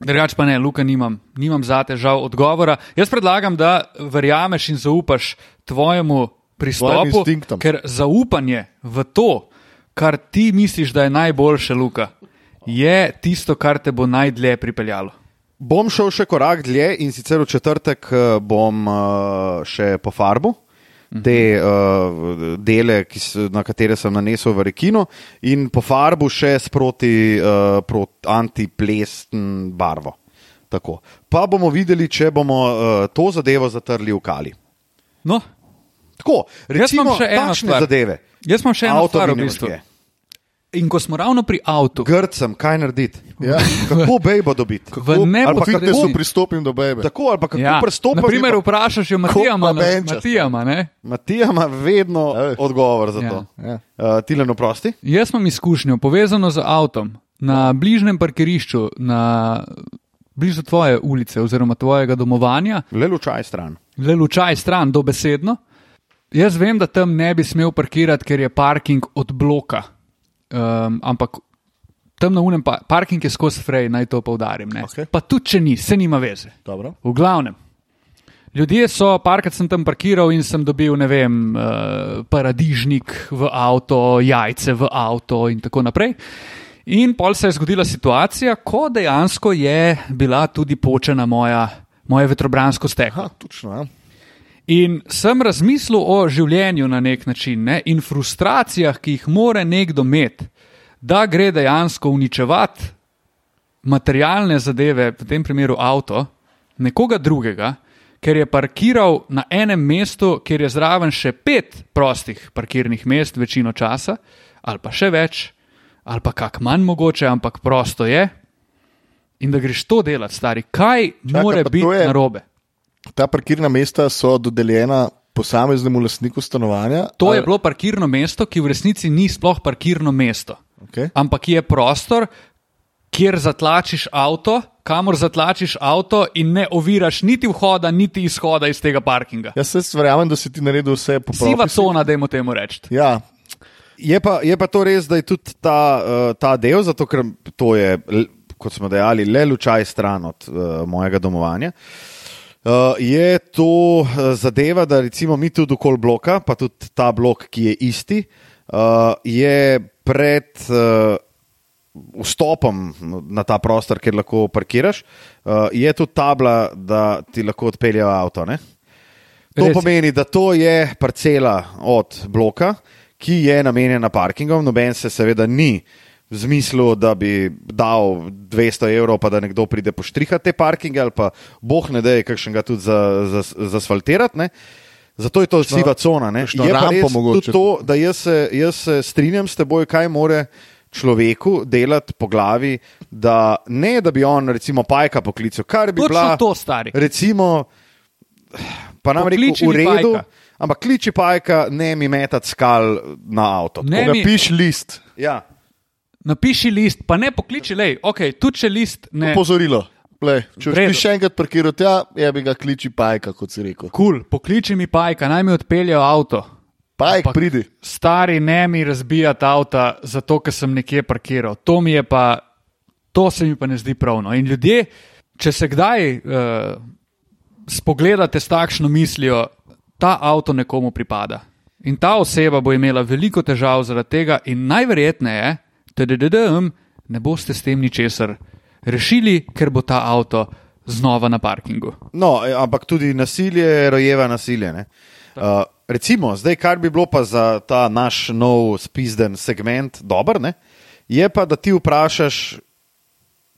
Speaker 2: Drugač pa ne, Luka, nimam, nimam za te žal odgovora. Jaz predlagam, da verjameš in zaupaš tvojemu
Speaker 4: Tvojim
Speaker 2: pristopu,
Speaker 4: instinktom.
Speaker 2: ker zaupanje v to, kar ti misliš, da je najboljše, Luka, je tisto, kar te bo najdlje pripeljalo.
Speaker 3: Bom šel še korak dlje in sicer v četrtek eh, bom eh, še po farbu. Te uh, dele, ki s, na katere sem nanesel v rekino, in po farbu še sproti uh, prot, antiplesn barvo. Tako. Pa bomo videli, če bomo uh, to zadevo zatrli v kali.
Speaker 2: No,
Speaker 3: Tako,
Speaker 2: jaz imam
Speaker 3: recimo,
Speaker 2: še eno
Speaker 3: takšne
Speaker 2: stvar.
Speaker 3: zadeve.
Speaker 2: Jaz imam še eno
Speaker 3: Avto
Speaker 2: stvar v bistvu.
Speaker 3: vinilke.
Speaker 2: In ko smo ravno pri avtu,
Speaker 3: Grd sem, kaj narediti.
Speaker 4: Ja.
Speaker 3: Kako bejbo dobiti?
Speaker 2: v
Speaker 3: ali pa
Speaker 4: Kot
Speaker 3: kako-
Speaker 4: da so
Speaker 2: neposredni.
Speaker 4: pristopim do bebe.
Speaker 3: Tako ali pa kako
Speaker 2: Ja,
Speaker 3: prstopati.
Speaker 2: naprimer, vprašaš jo Matijama, no,
Speaker 4: pa benčaš.
Speaker 2: Matijama, ne?
Speaker 3: Matija ima vedno
Speaker 4: Ja.
Speaker 3: odgovor za
Speaker 2: Ja.
Speaker 3: to.
Speaker 4: Ja.
Speaker 3: Uh, Tilen, oprosti.
Speaker 2: Jaz imam izkušnjo povezano z avtom na bližnjem parkirišču, na blizu tvoje ulice oziroma tvojega domovanja,
Speaker 3: Le lučaj stran.
Speaker 2: le lučaj stran dobesedno. Jaz vem, da tam ne bi smel parkirati, ker je parking od bloka. Um, ampak tam na unem pa, parking je skozi frej, naj to poudarim.
Speaker 4: Okej.
Speaker 2: Okay. Pa tudi če ni, se nima veze.
Speaker 4: Dobro.
Speaker 2: V glavnem. Ljudje so, parkrat sem tam parkiral in sem dobil, ne vem, eh, paradižnik v avto, jajce v avto in tako naprej. In pol se je zgodila situacija, ko dejansko je bila tudi počena moja, moje vetrobransko steklo.
Speaker 4: Aha, točno. Ja.
Speaker 2: In sem razmislil o življenju na nek način ne? in frustracijah, ki jih more nekdo imeti, da gre dejansko uničevati materialne zadeve, v tem primeru avto, nekoga drugega, ker je parkiral na enem mestu, kjer je zraven še pet prostih parkirnih mest, večino časa, ali pa še več, ali pa kak manj mogoče, ampak prosto je. In da greš to delati, stari, kaj Čaka, more
Speaker 4: pa to
Speaker 2: biti
Speaker 4: je-
Speaker 2: narobe?
Speaker 4: Ta parkirna mesta so dodeljena posameznemu lastniku stanovanja.
Speaker 2: To
Speaker 4: ali-
Speaker 2: je bilo parkirno mesto, ki v resnici ni sploh parkirno mesto,
Speaker 4: Okej.
Speaker 2: ampak je prostor, kjer zatlačiš avto, kamor zatlačiš avto in ne oviraš niti vhoda, niti izhoda iz tega parkinga.
Speaker 4: Jaz se verjamem, da si ti naredil vse po
Speaker 2: Siva
Speaker 4: pravilih.
Speaker 2: cona, da jim temu rečete.
Speaker 4: Ja,
Speaker 3: Je pa, je pa to res, da je tudi ta, uh, ta del, zato ker to je, l- kot smo dejali, le lučaj stran od uh, mojega domovanja. Uh, je to uh, zadeva, da recimo mi tudi okol bloka, pa tudi ta blok, ki je isti, uh, je pred uh, vstopom na ta prostor, kjer lahko parkiraš, uh, je tudi tabla, da ti lahko odpeljejo avto. Ne? To
Speaker 2: Res je.
Speaker 3: Res. pomeni, da to je parcela od bloka, ki je namenjena parkingom. Noben se seveda ni zmislil, da bi dal 200 evrov, pa da nekdo pride poštrihati te parkinge ali pa boh ne da je kakšnega tudi za- za- zasfaltirati. Za, Zato je to siva cona. Ne?
Speaker 4: kakšno
Speaker 3: Je pa
Speaker 4: rampo
Speaker 3: res
Speaker 4: mogoče.
Speaker 3: tudi to, da jaz se, jaz se strinjam s teboj, kaj more človeku delati po glavi, da ne da bi on recimo pajka poklical, kar bi
Speaker 2: Točno
Speaker 3: bila
Speaker 2: to, stari.
Speaker 3: recimo, pa nam rekel,
Speaker 2: Pokliči
Speaker 3: v
Speaker 2: mi
Speaker 3: redu,
Speaker 2: Pajka.
Speaker 3: ampak kliči pajka, ne mi metati skal na avto.
Speaker 2: Ne mi-
Speaker 4: napiš list,
Speaker 3: Ja.
Speaker 2: Napiši list, pa ne pokliči, lej, ok, tu če list ne.
Speaker 4: opozorilo. Glej, če
Speaker 2: V redu.
Speaker 4: ti še enkrat parkiraš tja, je bi ga kliči pajka, kot si
Speaker 2: Kul,
Speaker 4: rekel.
Speaker 2: cool, pokliči mi pajka, naj mi odpeljejo avto.
Speaker 4: Pajk,
Speaker 2: Ampak-
Speaker 4: pridi.
Speaker 2: stari ne mi razbijati avta, zato ker sem nekje parkiral. To mi je pa, to se mi pa ne zdi pravno. In ljudje, če se kdaj uh, spogledate s takšno mislijo, ta avto nekomu pripada. In ta oseba bo imela veliko težav zaradi tega, in najverjetneje, TDDM, ne boste s tem ničesar rešili, ker bo ta avto znova na parkingu.
Speaker 3: No, e, ampak tudi nasilje rojeva nasilje. ne. Uh, recimo, zdaj, kar bi bilo pa za ta naš nov spizden segment, dober, ne, je pa, da ti vprašaš,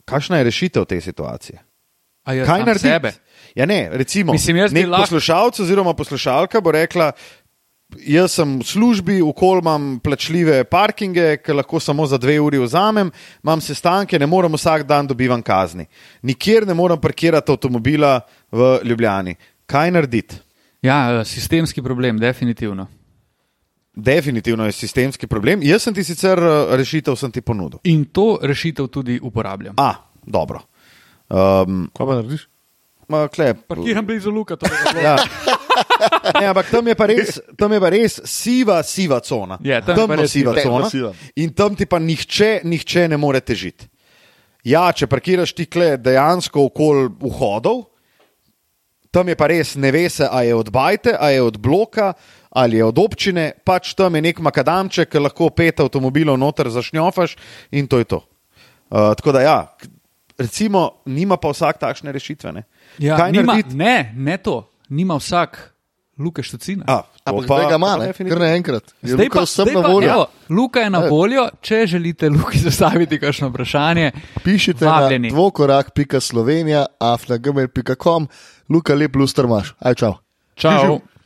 Speaker 3: kakšna je rešitev te situacije?
Speaker 2: A jaz
Speaker 3: Kaj
Speaker 2: sam
Speaker 3: narediti?
Speaker 2: sebe?
Speaker 3: Ja, ne, recimo,
Speaker 2: Mislim, jaz bi
Speaker 3: nek
Speaker 2: lahko-
Speaker 3: poslušalec oziroma poslušalka bo rekla. Jaz sem v službi, okolj imam plačljive parkinge, ki lahko samo za dve uri vzamem, imam sestanke, ne morem vsak dan dobivam kazni. Nikjer ne morem parkirati avtomobila v Ljubljani. Kaj narediti?
Speaker 2: Ja, eh, sistemski problem, definitivno.
Speaker 3: Definitivno je sistemski problem. Jaz sem ti sicer eh, rešitev sem ti ponudil.
Speaker 2: In to rešitev tudi uporabljam.
Speaker 3: A, dobro. Um,
Speaker 4: Kaj pa narediš?
Speaker 3: ma, kle,
Speaker 2: Parkiram blizu luka, to je bilo.
Speaker 3: Ja. Ne, ampak tam je, pa res, tam je pa res siva, siva cona.
Speaker 2: Je, Ja, tam je pa
Speaker 3: Temno
Speaker 2: res
Speaker 3: siva
Speaker 4: siva.
Speaker 3: cona.
Speaker 4: Temno siva.
Speaker 3: In tam ti pa nihče, nihče ne more težiti. Ja, če parkiraš ti kle dejansko okoli vhodov, tam je pa res ne ve se, ali je od Bajte, ali je od bloka, ali je od občine, pač tam je nek makadamček, ki lahko pet avtomobilov noter zašnjofaš in to je to. Uh, tako da ja, k- recimo, nima pa vsak takšne rešitve. Ne?
Speaker 2: Ja,
Speaker 3: Kaj
Speaker 2: nima,
Speaker 3: narediti?
Speaker 2: ne, ne to. Nima vsak Luka Štucina.
Speaker 3: A, to
Speaker 4: Ampak
Speaker 3: pa-
Speaker 4: zdaj ga ima,
Speaker 3: to pa
Speaker 4: ne?
Speaker 3: definitivno.
Speaker 4: kar naenkrat. Je
Speaker 2: Zdaj
Speaker 4: Luka vsem
Speaker 2: zdaj
Speaker 4: na voljo.
Speaker 2: evo, Luka je na
Speaker 4: Ja.
Speaker 2: voljo, če želite Luki zastaviti kakšno vprašanje.
Speaker 4: Pišite
Speaker 2: Vabljeni.
Speaker 4: na dvokorak.slovenija, afnagmail.com, Luka lep luster imaš. Aj, čau.
Speaker 2: Čau.